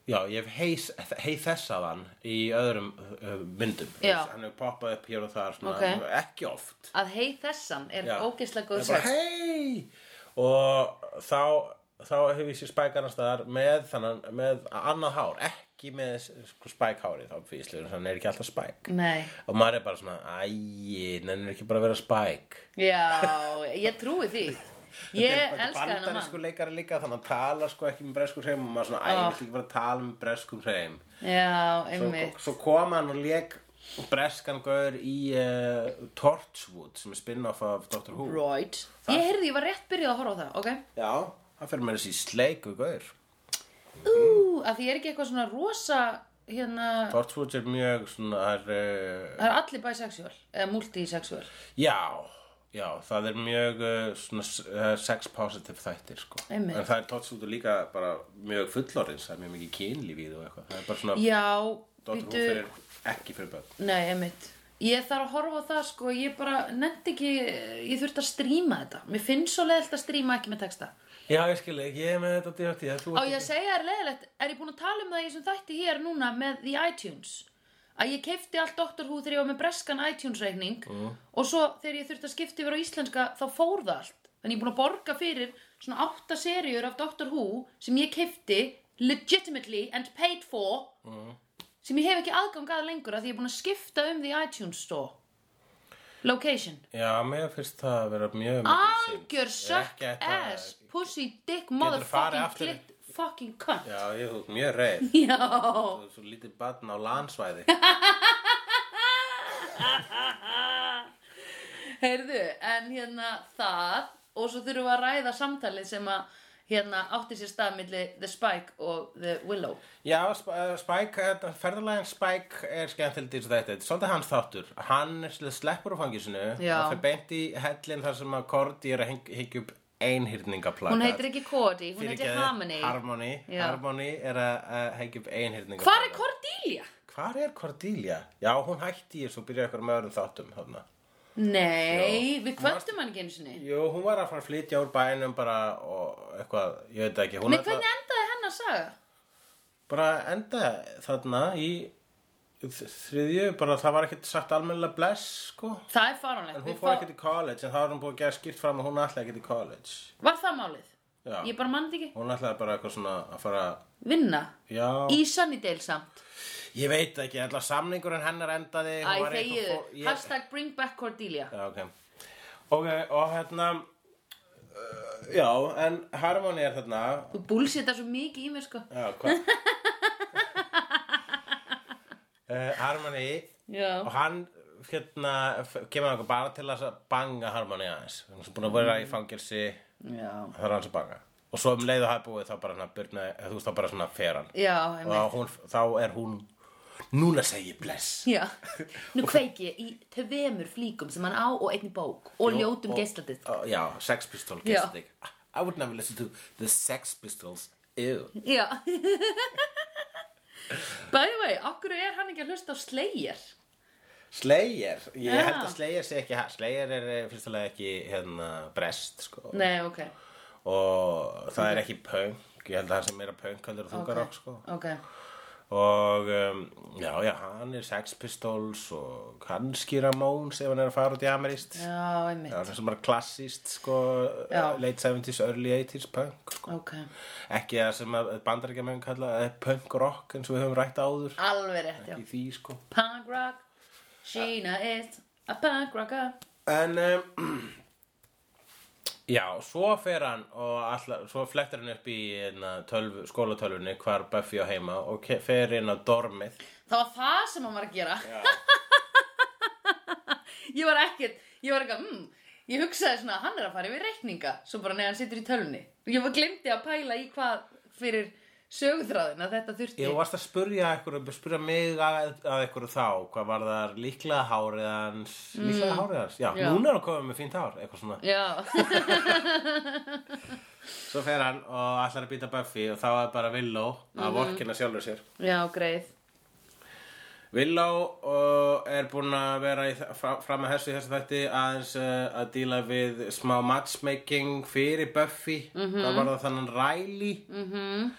[SPEAKER 2] já, ég hef heis, hei þessaðan í öðrum uh, myndum.
[SPEAKER 1] Já.
[SPEAKER 2] Hann hefur poppað upp hér og þar, svona,
[SPEAKER 1] Ok.
[SPEAKER 2] ekki oft.
[SPEAKER 1] að heið þessan er
[SPEAKER 2] Já.
[SPEAKER 1] ógeðslega góð
[SPEAKER 2] Ég bara,
[SPEAKER 1] sex
[SPEAKER 2] hei og þá þá hefur ég sér spæk annars staðar með, þannan, með annað hár ekki með sko, spækhári þá fýslu hann er ekki alltaf spæk
[SPEAKER 1] Nei,
[SPEAKER 2] og maður er bara svona, æi, nennir ekki bara að vera spæk
[SPEAKER 1] já, ég trúi því Ég elska hennar
[SPEAKER 2] bandarísku
[SPEAKER 1] mann
[SPEAKER 2] leikari líka þannig að tala sko ekki með breskum hreim og maður svona, æ,
[SPEAKER 1] Ah.
[SPEAKER 2] ég vil ekki bara tala með breskum hreim
[SPEAKER 1] Já, einmitt
[SPEAKER 2] svo, svo kom hann og leik breskan gaur í uh, Torchwood sem er spin-off af Doctor Who
[SPEAKER 1] Right. Ég heyrði, ég var rétt byrjuð að horfa á það, ok?
[SPEAKER 2] já, hann fyrir með þessi sleiku gaur
[SPEAKER 1] Ú, að því ég er ekki eitthvað svona rosa hérna,
[SPEAKER 2] Torchwood er mjög svona, það er, uh,
[SPEAKER 1] það er allir bisexual eða multisexual
[SPEAKER 2] já, já, það er mjög uh, svona uh, sex positive þættir, sko.
[SPEAKER 1] Einmitt.
[SPEAKER 2] En það er Torchwood líka bara mjög fullorðins, það er mjög mikið kynlífið og eitthvað. Það er bara svona,
[SPEAKER 1] Já,
[SPEAKER 2] Torchwood
[SPEAKER 1] býtu
[SPEAKER 2] fyrir, ekki fyrir börn.
[SPEAKER 1] Nei, einmitt Ég þarf að horfa á það sko, ég bara nefndi ekki, ég þurfti að stríma þetta. Mér finnst svo leiðilt að stríma ekki með texta.
[SPEAKER 2] Já, ég skil ekki, ég er með þetta DRT, ég þú
[SPEAKER 1] Á ég að segja þér leiðilegt, er ég búin að tala um það í þessum þætti hér núna með The iTunes? Að ég keipti allt Doctor Who þegar ég var með breskan iTunes reikning og svo þegar ég þurfti að skipta yfir á íslenska þá fór það allt. Þannig ég er búin að borga fyrir svona átta seríur af Doctor Who sem ég keipti legitimately and paid for sem ég hef ekki aðgang að lengur að því ég er búin að skipta um því iTunes Store location
[SPEAKER 2] Já, mér finnst það að vera mjög mikið
[SPEAKER 1] algjör
[SPEAKER 2] synd.
[SPEAKER 1] suck
[SPEAKER 2] Ekki ætti að-
[SPEAKER 1] ass pussy dick
[SPEAKER 2] farið
[SPEAKER 1] motherfucking
[SPEAKER 2] aftur?
[SPEAKER 1] clit fucking cunt
[SPEAKER 2] Já, ég þú ert mjög reið.
[SPEAKER 1] Já.
[SPEAKER 2] Þú ert svo lítið barn á landsvæði.
[SPEAKER 1] heyrðu en hérna það og svo þurfum við að ræða samtalið sem að hérna átti sér stað milli The Spike og The Willow
[SPEAKER 2] Já, Sp- eh, Spike, eh, ferðalagin Spike er skemmtilegt í þessu þetta. Þetta er svolítið hans þáttur. Hann sl- sleppur úr fangisinu.
[SPEAKER 1] Já.
[SPEAKER 2] Hann fer beint í hellin þar sem að Korti er að heng- hengja upp einhyrningaplakat.
[SPEAKER 1] hún heitir ekki Cody, hún heitir
[SPEAKER 2] Fyrirgeðu,
[SPEAKER 1] Harmony
[SPEAKER 2] Harmony.
[SPEAKER 1] Já.
[SPEAKER 2] Harmony er að að hengja upp einhyrningaplakat.
[SPEAKER 1] hvar er Cordelia?
[SPEAKER 2] Hvar er Cordelia? Já, hún hætti í þessu og byrjaði eitthvað með öðrum þáttum. Þarna.
[SPEAKER 1] nei, við kvöldum hann ekki einu sinni
[SPEAKER 2] Jú, hún var að fara að flytja úr bænum bara og eitthvað, ég veit það ekki. Hún
[SPEAKER 1] Nei,
[SPEAKER 2] ætla-
[SPEAKER 1] hvernig endaði hennar saga?
[SPEAKER 2] bara enda þarna í þriðju, bara það var ekkert sagt almennilega bless, sko.
[SPEAKER 1] Það er faranlegt.
[SPEAKER 2] En hún fór ekkert í college, en það var hún búið að gera skýrt fram að hún ætlaði ekkert í college.
[SPEAKER 1] Var það málið?
[SPEAKER 2] Já.
[SPEAKER 1] Ég bara mann ekki.
[SPEAKER 2] Hún ætlaði bara eitthvað svona að fara,
[SPEAKER 1] Vinna.
[SPEAKER 2] já,
[SPEAKER 1] Í Sunnydale samt.
[SPEAKER 2] ég veit ekki, ætla samningurinn hennar endaði. hún
[SPEAKER 1] Æ,
[SPEAKER 2] var eitthvað
[SPEAKER 1] þegiðu.
[SPEAKER 2] fó- ég-
[SPEAKER 1] Hashtag bring back Cordelia.
[SPEAKER 2] Já, ok. Ok, og hérna, uh, já, en Harmony er þarna,
[SPEAKER 1] Þú búlsita svo mikið í mér, sko.
[SPEAKER 2] já, hvað? uh, Harmony
[SPEAKER 1] Já.
[SPEAKER 2] og hann hérna f- kemur hann bara til að banga Harmony aðeins hann er búin að vera í fangelsi
[SPEAKER 1] Já.
[SPEAKER 2] það er hans að banga og svo um leið og það er búið þá bara hann að byrna eða þú veist þá bara svona fer hann
[SPEAKER 1] Já,
[SPEAKER 2] og
[SPEAKER 1] einmitt.
[SPEAKER 2] þá hún, þá er hún núna segi ég bless
[SPEAKER 1] Já. Nú kveiki ég í tveimur flíkum sem hann á og einn í bók og ljótum
[SPEAKER 2] og-
[SPEAKER 1] geisladisk.
[SPEAKER 2] Ó, já, sex pistol
[SPEAKER 1] Já.
[SPEAKER 2] geisladik I would never listen to the sex pistols ew
[SPEAKER 1] Já. By the way, okkur er hann ekki að hlusta á Slayer?
[SPEAKER 2] Slayer, ég
[SPEAKER 1] Já.
[SPEAKER 2] held að Slayer sé ekki Slayer er eh, fyrst alveg ekki hérna brest sko
[SPEAKER 1] Nei, ok.
[SPEAKER 2] og það er ekki punk ég held að það sem meira punk heldur að þunga rock sko
[SPEAKER 1] Ok.
[SPEAKER 2] og um, já, já, hann er Sex Pistols og kannski Ramones ef hann er að fara út í Amerist já,
[SPEAKER 1] Já, einmitt.
[SPEAKER 2] það er sem bara klassist sko,
[SPEAKER 1] Já.
[SPEAKER 2] late 70s, early 80s punk sko.
[SPEAKER 1] Ok.
[SPEAKER 2] ekki það sem bandarækjamenn kalla eh, punk rock eins og við höfum rætt áður
[SPEAKER 1] Alveg rétt, já.
[SPEAKER 2] í því sko
[SPEAKER 1] Punk rock Sheena is a punk rocker
[SPEAKER 2] en um, já, svo fer hann og allar, svo flettir hann upp í hérna, tölvu, skólatölvunni hvar Buffy á heima og ke- fer inn á dormið
[SPEAKER 1] Það var það sem hann var að gera Ég var ekkert Ég var eitthvað, mm, ég hugsaði svona Hann er að fara yfir reikninga Svo bara neðan situr í tölunni Ég var glemdi að pæla í hvað fyrir sögþráðin að þetta þurfti
[SPEAKER 2] Ég varst að spurja ykkur, spurja mig að, að ykkur þá, hvað var það líklega hárið hans, líklega hárið hans, já,
[SPEAKER 1] Já.
[SPEAKER 2] núna er hann komið með fínt hár, eitthvað svona.
[SPEAKER 1] Já,
[SPEAKER 2] Svo fer hann og ætlar að býta Buffy og þá er bara Willow að vorkina sjálfur sér.
[SPEAKER 1] já, greið
[SPEAKER 2] Willow og uh, er búin að vera í, þa- fra, fram að þessu í þessu þætti aðeins uh, að díla við smá matchmaking fyrir Buffy, hvað var það þannan Riley. Mm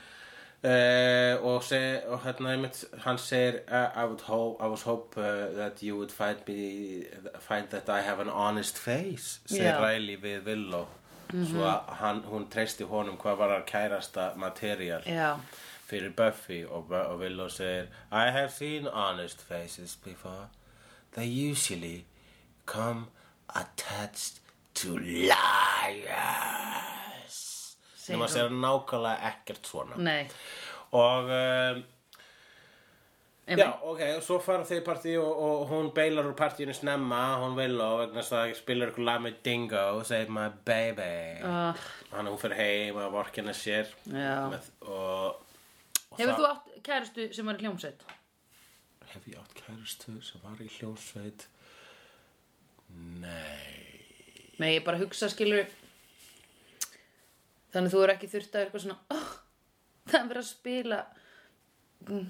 [SPEAKER 2] og, seg, og hérna einmitt, hann segir uh, I, would hope, I was hope uh, that you would find me find that I have an honest face segir
[SPEAKER 1] Já.
[SPEAKER 2] Riley við Willow svo að hann, hún treysti honum hvað var að kærasta material
[SPEAKER 1] Já,
[SPEAKER 2] fyrir Buffy og, Bu- og Willow segir I have seen honest faces before they usually come attached to liars
[SPEAKER 1] Segir
[SPEAKER 2] sem að
[SPEAKER 1] hún.
[SPEAKER 2] segja nákvæmlega ekkert svona
[SPEAKER 1] nei
[SPEAKER 2] og um,
[SPEAKER 1] Einmitt.
[SPEAKER 2] já, ok, svo fara þau í partí og, og hún beilar úr partíinu snemma hún Willow vegna þess að það spilur ykkur lag með Dingo og segir my baby
[SPEAKER 1] uh,
[SPEAKER 2] hann hún fyrir heim að vorkina sér
[SPEAKER 1] Já.
[SPEAKER 2] með, og, og
[SPEAKER 1] Hefur
[SPEAKER 2] það-
[SPEAKER 1] þú átt kærustu sem var í hljómsveit?
[SPEAKER 2] Hef ég átt kæristu sem var í hljósveit? Nei.
[SPEAKER 1] Nei, ég bara hugsa skilur Þannig þú er ekki þurft að vera eitthvað svona oh, Það er verið að spila Mm,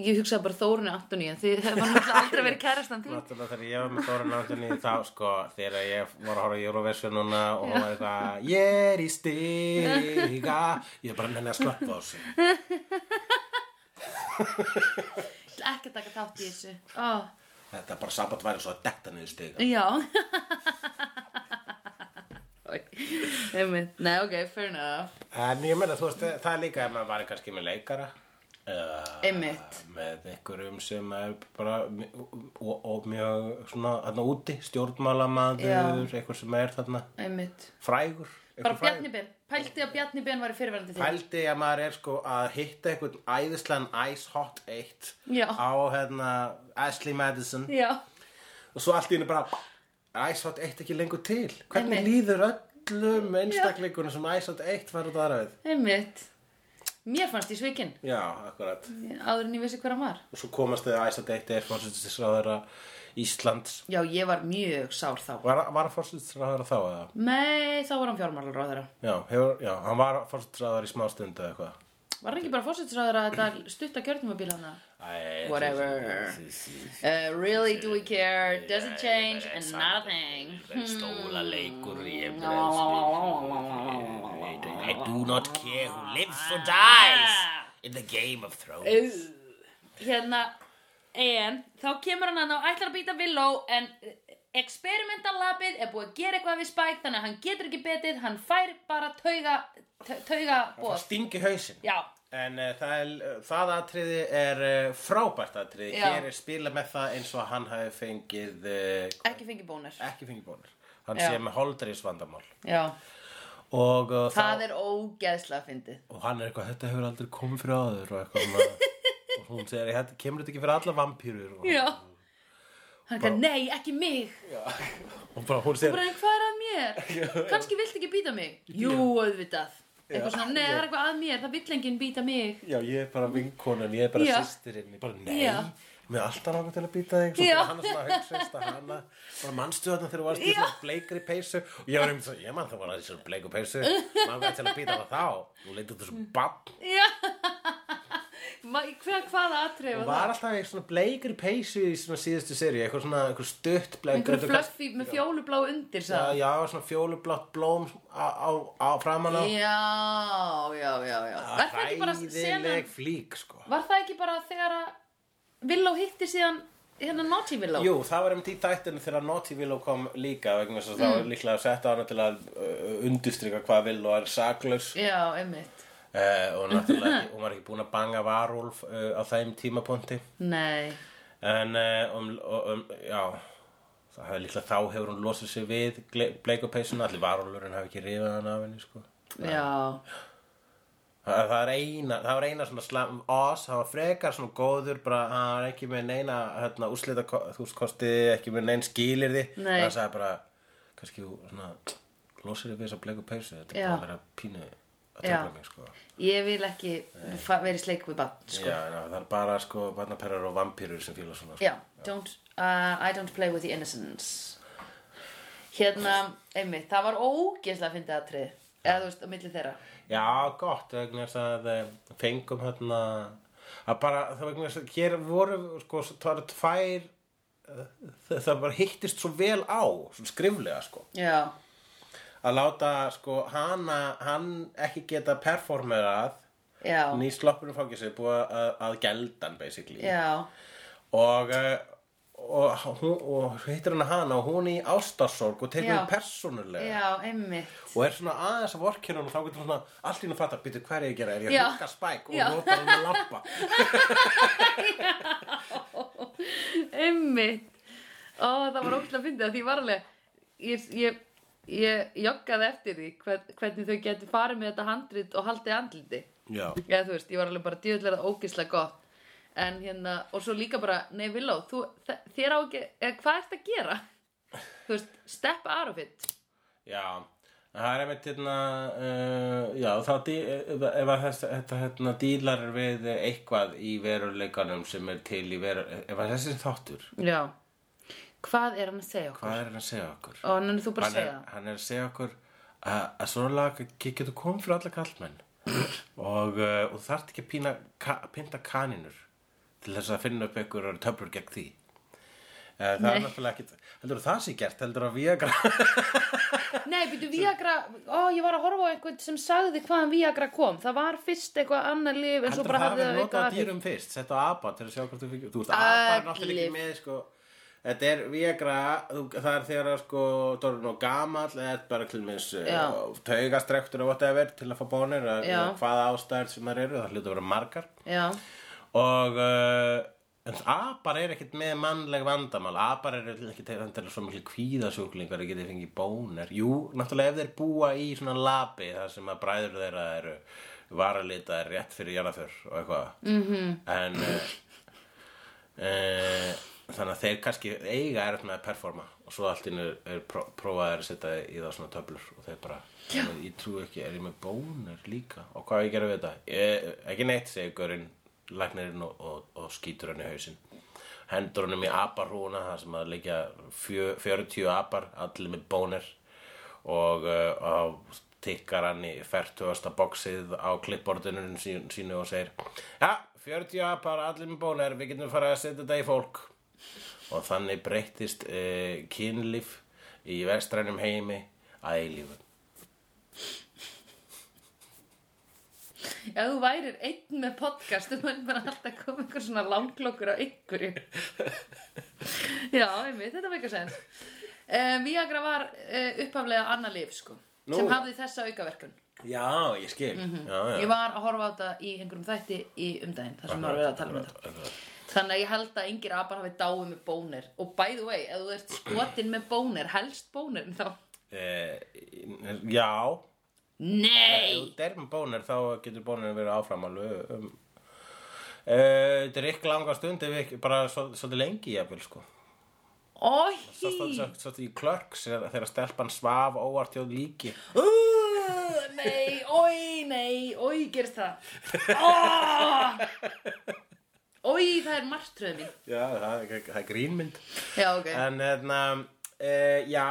[SPEAKER 1] Ég hugsaði bara Þórunni Antoni en þið hefur náttúrulega aldrei verið kærastan þín
[SPEAKER 2] Náttúrulega þegar ég var með Dóra Náttúrulega í þá sko þegar ég var að horfa á Eurovision núna og hún var eitthvað Ég er í stiga Ég bara nenni að slappa á þessu
[SPEAKER 1] Ég ætla ekki að taka þátt í þessu oh,
[SPEAKER 2] Þetta er bara sabat væri svo að detta niður stiga
[SPEAKER 1] Já Einmitt. Nei, ok, fair enough
[SPEAKER 2] En ég meina þú veist það er líka ef maður var kannski með leikara eða
[SPEAKER 1] Einmitt.
[SPEAKER 2] með einhverjum sem er bara og, og mjög svona þarna úti stjórnmálamaður, eitthvað sem er þarna
[SPEAKER 1] Einmitt
[SPEAKER 2] frægur
[SPEAKER 1] Bara
[SPEAKER 2] einhver frægur.
[SPEAKER 1] Bjarni Ben, pælti að Bjarni Ben var í fyrirverandi þín
[SPEAKER 2] Pældi að maður er sko að hitta einhvern æðislegan Ice Hot 1
[SPEAKER 1] Já.
[SPEAKER 2] á hérna Ashley Madison
[SPEAKER 1] Já,
[SPEAKER 2] og svo allt í henni bara Ice Hot 1 ekki lengur til hvernig
[SPEAKER 1] Einmitt.
[SPEAKER 2] líður öllum einstaklingunum sem Ice Hot 1 var út aðra við
[SPEAKER 1] einmitt Mér fannst ég svikin
[SPEAKER 2] Já, akkurat
[SPEAKER 1] áður en ég vissi hver hann var
[SPEAKER 2] og svo komast þau Ice Hot 1 er fórsættisraðara Íslands
[SPEAKER 1] Já, ég var mjög sár þá
[SPEAKER 2] Var, var fórsættisraðara þá eða?
[SPEAKER 1] Nei, þá var hann fjármálaráðara.
[SPEAKER 2] Já, hefur, já, hann var fórsættisraðara í smá stundu eða eitthvað
[SPEAKER 1] Var hann ekki bara fórsættisráðara þetta stutta kjörnumabíl hana?
[SPEAKER 2] Æ,
[SPEAKER 1] Whatever.
[SPEAKER 2] sí, sí, sí.
[SPEAKER 1] Uh, really do we care, doesn't change and nothing. Hmm.
[SPEAKER 2] stóla leikur ég I do not care who lives or dies in the game of thrones
[SPEAKER 1] Hérna, en þá kemur hann að og ætlar að býta Willow en experimentallabið er búið að gera eitthvað við Spike þannig að hann getur ekki betið, hann fær bara tauga, ta- tauga
[SPEAKER 2] það
[SPEAKER 1] bóð.
[SPEAKER 2] stingi hausinn
[SPEAKER 1] Já,
[SPEAKER 2] en uh, það, er, það atriði er uh, frábært atriði
[SPEAKER 1] Já.
[SPEAKER 2] hér er spila með það eins og hann hafi fengið uh,
[SPEAKER 1] ekki fengi bónus.
[SPEAKER 2] ekki fengið bónur hann
[SPEAKER 1] Já.
[SPEAKER 2] sé með holdreis vandamál
[SPEAKER 1] Já,
[SPEAKER 2] og, uh,
[SPEAKER 1] það er ógeðslega fyndið.
[SPEAKER 2] og hann er eitthvað, þetta hefur aldrei komið fyrir aður og eitthvað maður- og hún segir, "Þetta kemur þetta ekki fyrir alla vampýrur og,
[SPEAKER 1] Já. Hann er nei, ekki mig.
[SPEAKER 2] og bara, hún segir,
[SPEAKER 1] bara en hvað er að mér? kannski vilt ekki býta mig? Jú,
[SPEAKER 2] hérna.
[SPEAKER 1] auðvitað eitthvað svona, nei, það er eitthvað að mér, það vill enginn býta mig
[SPEAKER 2] Já, ég er bara vinkonan, ég er bara
[SPEAKER 1] Já.
[SPEAKER 2] sýstirinn, ég bara nei,
[SPEAKER 1] Já.
[SPEAKER 2] mér er alltaf langar til að býta þig, svo
[SPEAKER 1] Já.
[SPEAKER 2] bara hann er svona haugsveist að hana, bara mannstu þarna þegar þú varst í svona bleikri peysu og ég var einmitt svona, ég mann það var að í svona bleiku peysu, langar til að býta það þá, þú leitur þessu bann,
[SPEAKER 1] já Ma, hver, hvaða atrið
[SPEAKER 2] hún
[SPEAKER 1] var það?
[SPEAKER 2] var alltaf í svona bleikri peysu í svona síðustu seríu, eitthvað svona, eitthvað stutt bleikri,
[SPEAKER 1] einhverju fluffy með fjólublá undir
[SPEAKER 2] Já,
[SPEAKER 1] sagði hann.
[SPEAKER 2] já, svona fjólublátt blóm á, á, á framan á,
[SPEAKER 1] já, já, já, já var það ekki bara
[SPEAKER 2] hræðileg
[SPEAKER 1] senan
[SPEAKER 2] flík, sko.
[SPEAKER 1] var það ekki bara þegar að Villó hitti síðan hérna Naughty Villó
[SPEAKER 2] Jú, það var einmitt í tættinu þegar Naughty Willow kom líka vegna þess að það var líklega að setja hana til að uh, undistryka hvað Willow er saklaus uh,
[SPEAKER 1] já, einmitt
[SPEAKER 2] og náttúrulega ekki, hún var ekki búin að banga varúlf uh, á þeim tímapunkti
[SPEAKER 1] nei,
[SPEAKER 2] en uh, um, um, já það hefur líklega þá hefur hún losið sig við bleikupeysuna, allir varúlurinn hafi ekki rifið hann af henni sko
[SPEAKER 1] já
[SPEAKER 2] Það, það, er eina, það var eina svona slam oss, það var frekar svona góður bara að hann er ekki með neina hérna, úslita þúskosti, ekki með nein skilirði
[SPEAKER 1] Nei.
[SPEAKER 2] það sagði bara kannski þú svona losir við þess að bleika peysu, þetta
[SPEAKER 1] Já.
[SPEAKER 2] er bara að vera pínu að
[SPEAKER 1] Já.
[SPEAKER 2] tröfla mig sko,
[SPEAKER 1] ég vil ekki fa- vera í sleik við bann sko.
[SPEAKER 2] Já, ná, það er bara sko vatnaperrar og vampýrur sem fíla svona sko.
[SPEAKER 1] Já, don't, uh, I don't play with the innocence Hérna, einmitt, það var ógeðslega að fyndi aðtrið Eða þú veist, á milli þeirra
[SPEAKER 2] Já, gott, vegna þess að eh, fengum hérna að bara, það vegna þess að hér voru sko, það eru tvær eh, það það bara hittist svo vel á svona skriflega sko
[SPEAKER 1] Já,
[SPEAKER 2] að láta sko hana hann ekki geta performerað
[SPEAKER 1] já,
[SPEAKER 2] ný sloppinu fangilsi búið að, að gelda hann basically
[SPEAKER 1] já,
[SPEAKER 2] og, eh, og, hún, og hittir hann hana og hún í ástarsorg og tekur
[SPEAKER 1] Já.
[SPEAKER 2] hann persónulega
[SPEAKER 1] já, einmitt
[SPEAKER 2] og er svona aðeins að vorkjörun og þá getur svona allt í hún fatta, býtu hvað er ég að gera, er ég
[SPEAKER 1] Já.
[SPEAKER 2] að hugga spæk
[SPEAKER 1] Já.
[SPEAKER 2] og nota hann að lappa
[SPEAKER 1] Einmitt Ó, það var ógeðslega að fyndi að því ég var alveg Ég, ég, ég joggaði eftir því hvern, hvernig þau getur farið með þetta handrit og haldið andliti
[SPEAKER 2] Já,
[SPEAKER 1] Já, þú veist, ég var alveg bara djöðlega ógislega gott En hérna, og svo líka bara, nei Villó, þú, þe- þér á ekki, eða hvað ert að gera? Þú veist, steppa out of it
[SPEAKER 2] já Það er einmitt hérna, uh, já, þá dí, ef ef að þess, þetta hérna dílar við eitthvað í veruleikanum sem er til í veru, ef að þessi þáttur,
[SPEAKER 1] Já. Hvað er hann að segja okkur?
[SPEAKER 2] hvað er hann að segja okkur?
[SPEAKER 1] Og hann er þú bara að
[SPEAKER 2] Hann er,
[SPEAKER 1] segja það.
[SPEAKER 2] hann er að segja okkur að, að svona lag getur komið fyrir alla kallmenn og, uh, og þarft ekki að pína, ka, pinta kaninur til þess að finna upp einhver töflur gegn því. Uh, það er náttúrulega ekki, heldur það sé gert, heldur að við
[SPEAKER 1] Nei, byrju, Viagra, ó, ég var að horfa á einhvern sem sagði hvaðan Viagra kom. Það var fyrst eitthvað annar lif en svo
[SPEAKER 2] Heldur
[SPEAKER 1] bara
[SPEAKER 2] það
[SPEAKER 1] hafði
[SPEAKER 2] verið
[SPEAKER 1] það
[SPEAKER 2] notað
[SPEAKER 1] eitthvað
[SPEAKER 2] að dýrum fyrst, sett á apa til að sjá hvort þú fyrir Þú veist, apa er náttúrulega
[SPEAKER 1] Öll lyf.
[SPEAKER 2] ekki með, sko Þetta er Viagra, þú, það er þegar að, sko, þú er nú gamall eða er bara til minns
[SPEAKER 1] Já.
[SPEAKER 2] taugastrektur og whatever til að fá bónir eða-
[SPEAKER 1] Já.
[SPEAKER 2] eða hvaða ástæður sem þær eru, það hlutu að vera margar
[SPEAKER 1] Já,
[SPEAKER 2] og uh, en apar eru ekkert með mannleg vandamál apar eru ekkert endilega um svo miklu kvíðasjúklingar að geta fengið bónir jú, náttúrulega ef þeir búa í svona lapi þar sem að bræður þeirra eru varalitaðir rétt fyrir jarðaför og eitthvað mm -hmm. en uh, uh, þannig að þeir kannski eiga er með að performa og svo allt innu er pró prófaðir að setja í það svona töflur og þeir bara ég trú ekki, er ég með bónir líka og hvað á ég að gera við þetta? Ég, ekki neitt, segir Görinn lagnirinn og, og, og skýtur hann í hausinn hendur honum í aparhúna það sem að leikja 40 apar allir með bónir og, uh, og tikkar hann í fertugasta boxið á klippbordunum sín, sínu og segir Já, 40 apar, allir með bónir, við getum farið að setja þetta í fólk og þannig breyttist uh, kynlíf í vestrænum heimi að eilífu
[SPEAKER 1] ef þú værir einn með podcast þú væri bara alltaf að koma einhver svona langklokkur á einhverju Já, einmitt, þetta var eitthvað sens um, Viagra var uh, uppaflega annað lif sko,
[SPEAKER 2] Nú.
[SPEAKER 1] sem hafði þessa aukaverkun
[SPEAKER 2] Já, ég skil já, já.
[SPEAKER 1] Ég var að horfa á þetta í einhverjum þætti í umdæðin þar sem maður verið að tala um þetta Þannig að ég held að yngir apar hafi dáið með bónir og by the way, ef þú ert skotin með bónir helst bónir þá
[SPEAKER 2] Uh, já, Ef
[SPEAKER 1] Nei!
[SPEAKER 2] þú er með bónir þá getur bónir verið áfram alveg um, uh, drikk langa stund ef ekki, bara svo- svolítið lengi jafnvel sko
[SPEAKER 1] Ói!
[SPEAKER 2] Svo- svo- svo- svolítið í klörks þegar þegar stelpan svaf óvart hjá líki
[SPEAKER 1] Uh, nei, oi, nei, oi, gerst það oh! Oi, það er martröð mín
[SPEAKER 2] já, það, er- það er grínmynd
[SPEAKER 1] Já, ok
[SPEAKER 2] en hérna uh, já,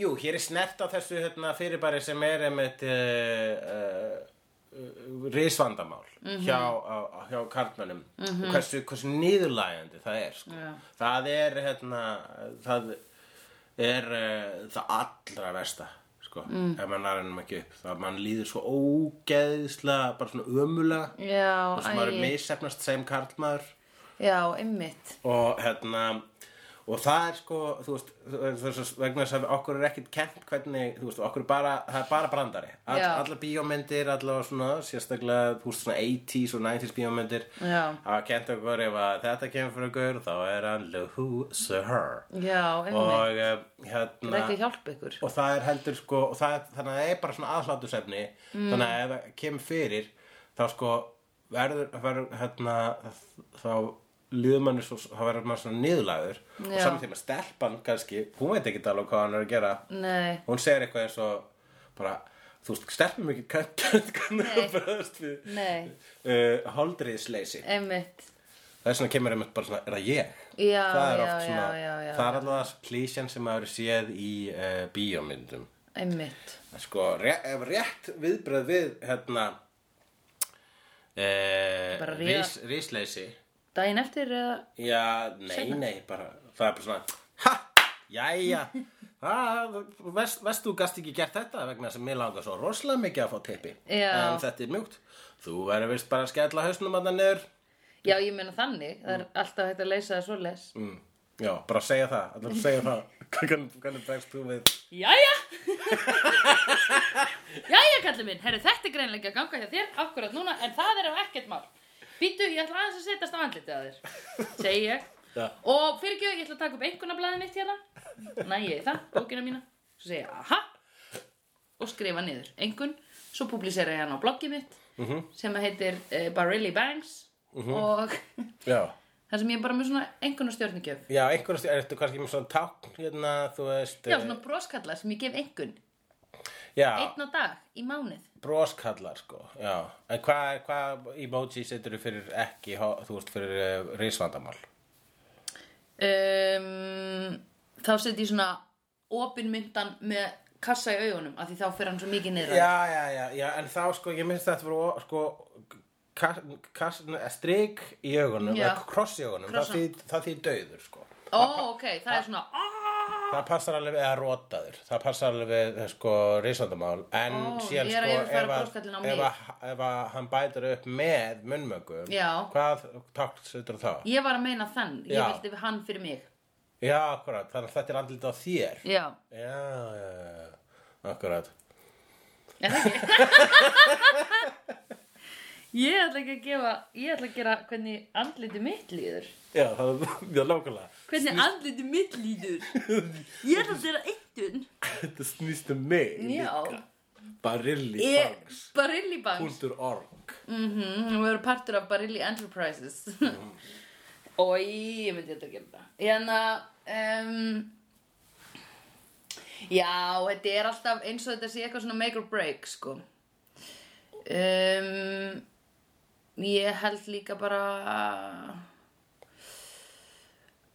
[SPEAKER 2] jú, hér er snert á þessu hérna, fyrirbæri sem er einmitt uh, uh, risvandamál
[SPEAKER 1] Mhm.
[SPEAKER 2] hjá, á, hjá karlmönnum og hversu, hversu niðurlægjandi það er sko.
[SPEAKER 1] Já.
[SPEAKER 2] það er hérna, það er uh, það allra versta sko,
[SPEAKER 1] Mm.
[SPEAKER 2] ef mann er ennum ekki upp það mann líður svo ógeðislega bara svona ömulega
[SPEAKER 1] Já,
[SPEAKER 2] og sem maður er
[SPEAKER 1] æ,
[SPEAKER 2] missefnast sem karlmaður
[SPEAKER 1] já, einmitt
[SPEAKER 2] og hérna og það er sko, þú veist, þú veist þú veist, vegna þess að okkur er ekkert kent hvernig, þú veist, okkur er bara, það er bara brandari All,
[SPEAKER 1] Já.
[SPEAKER 2] allar bíómyndir, allar svona sérstaklega, þú veist, svona 80s og 90s bíómyndir,
[SPEAKER 1] Já.
[SPEAKER 2] hafa kent okkur ef að þetta kemur fyrir okkur, þá er hann loser
[SPEAKER 1] Já, einmitt
[SPEAKER 2] og eh,
[SPEAKER 1] Það er
[SPEAKER 2] hérna
[SPEAKER 1] ekki að hjálpa ykkur
[SPEAKER 2] og það er heldur sko og það, er- þannig að það er bara svona aðhlátusefni
[SPEAKER 1] Mm.
[SPEAKER 2] þannig að ef það kemur fyrir þá sko verður, verður hérna, þá líður manni svo, þá verður maður svona niðurlæður og
[SPEAKER 1] Já.
[SPEAKER 2] saman því með stelpan kannski hún veit ekki alveg hvað hann er að gera
[SPEAKER 1] Nei
[SPEAKER 2] hún segir eitthvað eins og bara, þú veist, stelpum ekki kannan kannan
[SPEAKER 1] Nei.
[SPEAKER 2] að bregðast við
[SPEAKER 1] Nei,
[SPEAKER 2] uh, holdriðsleysi
[SPEAKER 1] einmitt
[SPEAKER 2] það er svona kemur einmitt bara svona, er það ég?
[SPEAKER 1] Já,
[SPEAKER 2] það er
[SPEAKER 1] já,
[SPEAKER 2] oft svona,
[SPEAKER 1] já, já, já.
[SPEAKER 2] það er alltaf klísjan sem maður hefur séð í uh, bíómyndum
[SPEAKER 1] Einmitt
[SPEAKER 2] sko, ré- ef rétt viðbröð við hérna eh,
[SPEAKER 1] Bara ríða.
[SPEAKER 2] rís, rísleysi
[SPEAKER 1] Dæin eftir eða
[SPEAKER 2] já, nei, nei, bara það er bara svona, ha, jæja Það, veist, veist þú gast ekki gert þetta vegna sem mér langar svo rosalega mikið að fá tippi
[SPEAKER 1] Já.
[SPEAKER 2] en þetta er mjúkt þú verður vist bara að skella hausnum að það niður
[SPEAKER 1] Já, ég meina þannig Það er alltaf hægt að leysa það svo les
[SPEAKER 2] mm. já, bara segja það, allar að segja það hvernig, hvernig bregst þú við
[SPEAKER 1] Jæja Jæja kallið minn, herri þetta er greinlega að ganga hjá þér akkurat núna en það er ef ekkert mál Býtu, ég ætla aðeins að setjast á andlitið að þér segi ég
[SPEAKER 2] Já.
[SPEAKER 1] og fyrirgjöðu, ég ætla að taka upp einhvernablaðið mitt hérna næ ég það, bókina mína svo segi ég, aha og skrifa niður einhvern svo publisera ég hann á bloggið mitt
[SPEAKER 2] Mhm.
[SPEAKER 1] sem heitir uh, Barilli Bangs og
[SPEAKER 2] já,
[SPEAKER 1] það sem ég er bara með svona einhvern stjórnigjöf
[SPEAKER 2] já einhverjum, ertu kannski með svona tákn hérna, þú veist
[SPEAKER 1] Já,
[SPEAKER 2] eh,
[SPEAKER 1] svona broskalla sem ég gef einhvern
[SPEAKER 2] Já,
[SPEAKER 1] einn á dag í mánuð
[SPEAKER 2] broskallar sko, já. En hvað hva emoji setur þú fyrir ekki, ho- þú veist, fyrir uh, risvandamál?
[SPEAKER 1] um, þá setjum ég svona opinmyndan með kassa í augunum af því þá fer hann svo mikið niður á.
[SPEAKER 2] Já, já, já, já, en þá sko, ég minnst þetta voru, o- sko, kas- kas- strik í augunum,
[SPEAKER 1] Já.
[SPEAKER 2] eða kross í augunum, það
[SPEAKER 1] Krossa.
[SPEAKER 2] þýð, það þýð döður sko.
[SPEAKER 1] ó ok, það er svona aaaah
[SPEAKER 2] Það passar alveg við að rótaður, það passar alveg við, eh, sko, risvandamál, en
[SPEAKER 1] Ó,
[SPEAKER 2] síðan
[SPEAKER 1] ég er að
[SPEAKER 2] sko,
[SPEAKER 1] yfirfara
[SPEAKER 2] ef,
[SPEAKER 1] broskallinn á
[SPEAKER 2] að,
[SPEAKER 1] mig.
[SPEAKER 2] ef, að, ef að hann bætir upp með munnmögum,
[SPEAKER 1] Já.
[SPEAKER 2] hvað takt setur þá?
[SPEAKER 1] Ég var að meina þann, ég
[SPEAKER 2] Já.
[SPEAKER 1] vildi við hann fyrir mig
[SPEAKER 2] Já, akkurat, þannig að þetta er andlitað á þér.
[SPEAKER 1] Já,
[SPEAKER 2] Já, já, já, akkurat.
[SPEAKER 1] er það ekki? ég ætla ekki að gefa Ég ætla að gera hvernig andliti mitt líður
[SPEAKER 2] Já, það er mjög nákvæmlega.
[SPEAKER 1] Hvernig andliti mitt líður Ég ætla að gera eittun
[SPEAKER 2] Þetta snýst um mig.
[SPEAKER 1] Já,
[SPEAKER 2] Barilli
[SPEAKER 1] ég, Barilli Banks
[SPEAKER 2] Barilli.org
[SPEAKER 1] Mhm, Við erum partur af Barilli Enterprises Og ég myndi þetta að gera það Hérna, En að um, Já, þetta er alltaf eins og þetta sé eitthvað svona make or break sko um, Ég held líka bara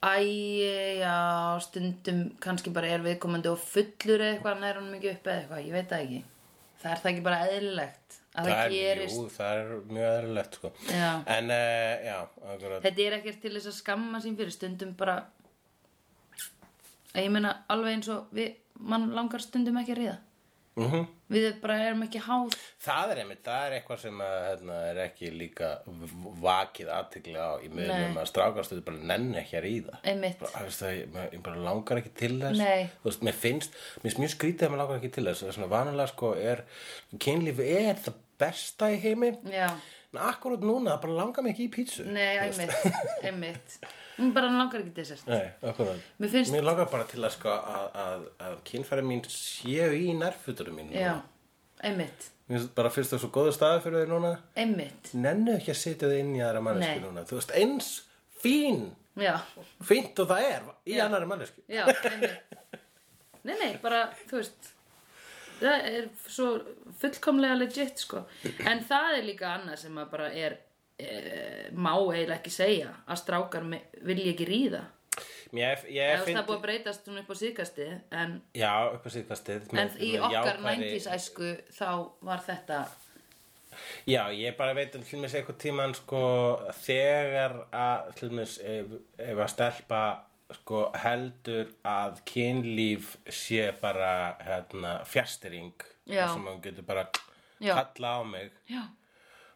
[SPEAKER 1] Æ, já, stundum kannski bara er viðkomandi og fullur eða eitthvað, nær hann mikið upp eða eitthvað, ég veit það ekki. Það er það ekki bara eðlilegt að það, gerist.
[SPEAKER 2] Jú, það er mjög aðrilegt sko.
[SPEAKER 1] Já.
[SPEAKER 2] En, uh, já, akkurat.
[SPEAKER 1] Þetta er ekkert til þess að skamma sín fyrir stundum bara að ég meina alveg eins og við, mann langar stundum ekki að ríða
[SPEAKER 2] Mm
[SPEAKER 1] við bara erum ekki háð
[SPEAKER 2] Það er einmitt, það er eitthvað sem að, hérna, er ekki líka v- vakið aðtigli á í miðlum að strákastuð bara nenni ekki að ríða.
[SPEAKER 1] einmitt
[SPEAKER 2] Bara, þú veist Það, ég, maður- ég bara langar ekki til þess
[SPEAKER 1] Nei.
[SPEAKER 2] þú veist, mér finnst, mér finnst mjög skrítið að mér langar ekki til þess, það er svona vanalega sko er, kynlíf er það besta í heimi
[SPEAKER 1] já,
[SPEAKER 2] en akkurat núna, það bara langar mér ekki í pítsu
[SPEAKER 1] nei, einmitt einmitt, Hún bara langar ekki dessert
[SPEAKER 2] Nei, akkurat
[SPEAKER 1] Mér finnst-
[SPEAKER 2] Mér langar bara til að sko að, að, að kynfæri mín séu í nærfuturum mín
[SPEAKER 1] já, einmitt,
[SPEAKER 2] Mér finnst bara fyrst það svo góðu staði fyrir þau núna
[SPEAKER 1] einmitt
[SPEAKER 2] Nennu ekki að setja þau inn í aðra mannesku
[SPEAKER 1] Nei.
[SPEAKER 2] núna Þú veist, eins fín
[SPEAKER 1] já,
[SPEAKER 2] Fínt og það er í annari mannesku
[SPEAKER 1] já, einmitt nei, nei, bara, þú veist það er svo fullkomlega legit, sko en það er líka annað sem að bara er e, má eiginlega ekki segja að strákar me- vilja ekki ríða
[SPEAKER 2] Mér,
[SPEAKER 1] Ég
[SPEAKER 2] ég
[SPEAKER 1] veist það er
[SPEAKER 2] finn
[SPEAKER 1] búið að breytast hún upp á síðkasti en,
[SPEAKER 2] Já, upp á síðkastið
[SPEAKER 1] en í okkar 90s æsku þá var þetta
[SPEAKER 2] Já, ég bara veit um hlumins eitthvað tíman sko þegar að hlumins ef, ef að stelpa sko heldur að kynlíf sé bara hérna, fjastering
[SPEAKER 1] Já.
[SPEAKER 2] sem hún getur bara
[SPEAKER 1] Já.
[SPEAKER 2] kalla á mig
[SPEAKER 1] já,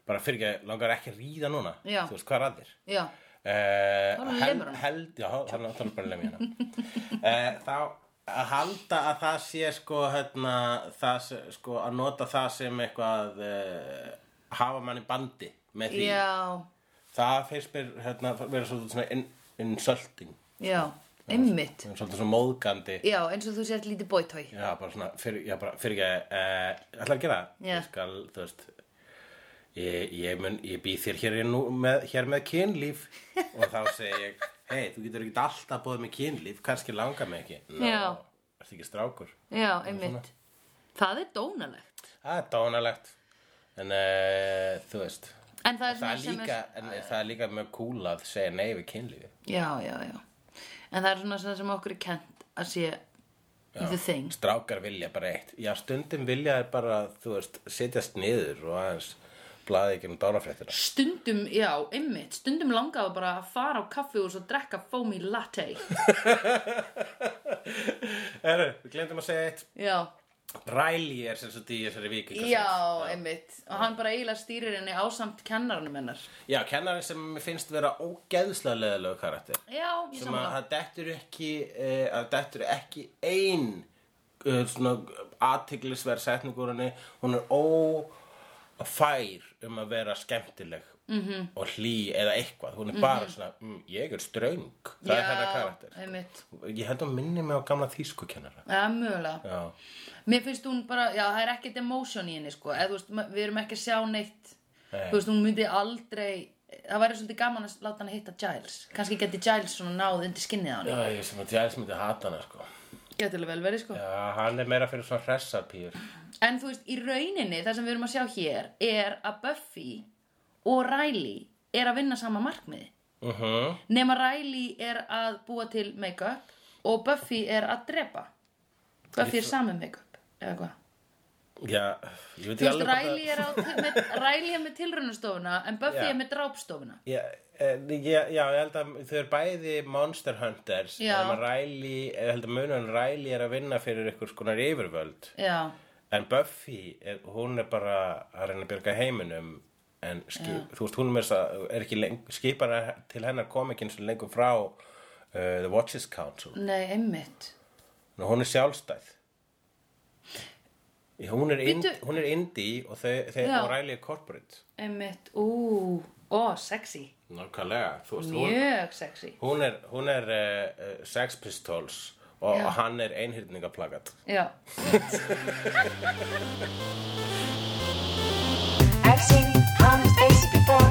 [SPEAKER 2] bara fyrir ekki, langar ekki að ríða núna
[SPEAKER 1] Já.
[SPEAKER 2] þú veist hvað er að þér
[SPEAKER 1] já,
[SPEAKER 2] Eh,
[SPEAKER 1] Þá
[SPEAKER 2] hel-
[SPEAKER 1] lemur hann.
[SPEAKER 2] held, já, þá er hann bara lemja hana Eh, þá að halda að það sé sko, hérna, það sé, sko að nota það sem eitthvað uh, hafa mann í bandi með því
[SPEAKER 1] já,
[SPEAKER 2] það finnst mér hérna, vera svolítið svona in- insulting
[SPEAKER 1] já einmitt,
[SPEAKER 2] svolítið svona móðgandi
[SPEAKER 1] já, eins og þú sért lítið bóitói
[SPEAKER 2] já, bara svona, fyrir, já, bara, fyrir ekki uh, ætlar að gera það?
[SPEAKER 1] Já.
[SPEAKER 2] ég skal, þú veist ég, ég, mun, ég býð þér hér, nú, með, hér með kynlíf og þá segi ég hei, þú getur ekki alltaf bóðið með kynlíf kannski langar mig ekki Ná,
[SPEAKER 1] Já.
[SPEAKER 2] ertu ekki strákur
[SPEAKER 1] já, einmitt það er dónalegt
[SPEAKER 2] það er dónalegt en uh, þú veist
[SPEAKER 1] en það er
[SPEAKER 2] það
[SPEAKER 1] svona
[SPEAKER 2] er,
[SPEAKER 1] sem
[SPEAKER 2] líka, en, það er líka mjög cool að segja nei við kynlífi
[SPEAKER 1] er já, já, já en það er svona sem- sem okkur er kent að sé the thing
[SPEAKER 2] strákar vilja bara eitt já, stundum vilja er bara, þú veist setjast niður og aðeins blaði ekki um dánafréttina
[SPEAKER 1] Stundum, já, einmitt, stundum langaðu bara að fara á kaffihús og drekka foamy latte.
[SPEAKER 2] Herru, við glemdum að segja eitt
[SPEAKER 1] Já,
[SPEAKER 2] Ræli er sem sagt í þessari viku
[SPEAKER 1] Já, einmitt. Og hann bara eiginlega stýrir henni ásamt kennaranum hennar.
[SPEAKER 2] Já, kennari sem mér finnst vera ógeðslega leðilegu karakter
[SPEAKER 1] Já, ég
[SPEAKER 2] sem að
[SPEAKER 1] samanlega.
[SPEAKER 2] það dettur ekki eh, að dettur ekki ein uh, svona aðtiglisverð setningur henni hún er ófær um að vera skemmtileg -hmm. og hlý eða eitthvað hún er bara svona, mm, ég er ströng það er hennar karakter
[SPEAKER 1] Einmitt.
[SPEAKER 2] ég held að hún minni mig á gamla þýsku kennara
[SPEAKER 1] Já, mögulega.
[SPEAKER 2] Já,
[SPEAKER 1] Mér finnst hún bara, já, það er ekkert emotion í henni, sko. Eð, veist, ma- við erum ekki að sjá neitt.
[SPEAKER 2] Nei.
[SPEAKER 1] Þú veist, hún myndi aldrei, það væri svolítið gaman að láta hann hitta Giles. Kannski geti Giles svona náð undir skinnið á hann.
[SPEAKER 2] Já ég sem að Giles myndi hata hana sko
[SPEAKER 1] Gætilega vel verið, sko.
[SPEAKER 2] Já, hann er meira fyrir svona hressapýr
[SPEAKER 1] En þú veist, í rauninni, það sem við erum að sjá hér er að Buffy og Riley er að vinna sama markmiði.
[SPEAKER 2] Uh -huh.
[SPEAKER 1] Nema Riley er að búa til make-up og Buffy er að drepa. Buffy er sami make-up, eða hvað.
[SPEAKER 2] Já, ég veit
[SPEAKER 1] Þú
[SPEAKER 2] ekki
[SPEAKER 1] veist,
[SPEAKER 2] alveg hvort
[SPEAKER 1] Riley er, á, með, Riley er með tilraunastofuna en Buffy
[SPEAKER 2] Já.
[SPEAKER 1] er með drápstofuna.
[SPEAKER 2] Já, en ég- já, ég held að þau eru bæði Monster Hunters
[SPEAKER 1] Já.
[SPEAKER 2] en Riley, eh, ég held að munum Riley er að vinna fyrir ykkur skonar yfirvöld
[SPEAKER 1] Já,
[SPEAKER 2] en Buffy, er, hún er bara að reyna að björga heiminum en skip, þú veist, hún er, að, er ekki leng, skipar til hennar kom ekki eins og lengur frá uh, The Watches Council
[SPEAKER 1] nei, einmitt.
[SPEAKER 2] en hún er sjálfstæð Í- hún er, ind,
[SPEAKER 1] Bíddu.
[SPEAKER 2] hún er indie og, þau, þau,
[SPEAKER 1] Já.
[SPEAKER 2] og Riley er corporate
[SPEAKER 1] Einmitt, ú, ó, sexy.
[SPEAKER 2] Nákvæmlega, þú veist, hún,
[SPEAKER 1] Mjög sexy.
[SPEAKER 2] Hún er, hún er uh, Sex Pistols og
[SPEAKER 1] Já.
[SPEAKER 2] hann er einhyrningaplakat.
[SPEAKER 1] Já,
[SPEAKER 3] I've seen honest faces before.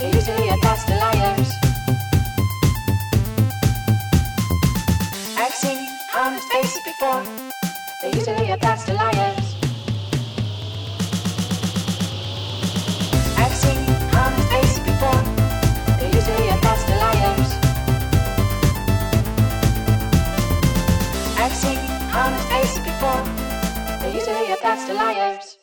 [SPEAKER 3] They're usually a pass for liars. I've seen honest faces before. They're usually a pass for liars. I've seen honest faces before. They're usually a pass for liars. I've seen honest faces before. They're usually a pass for liars.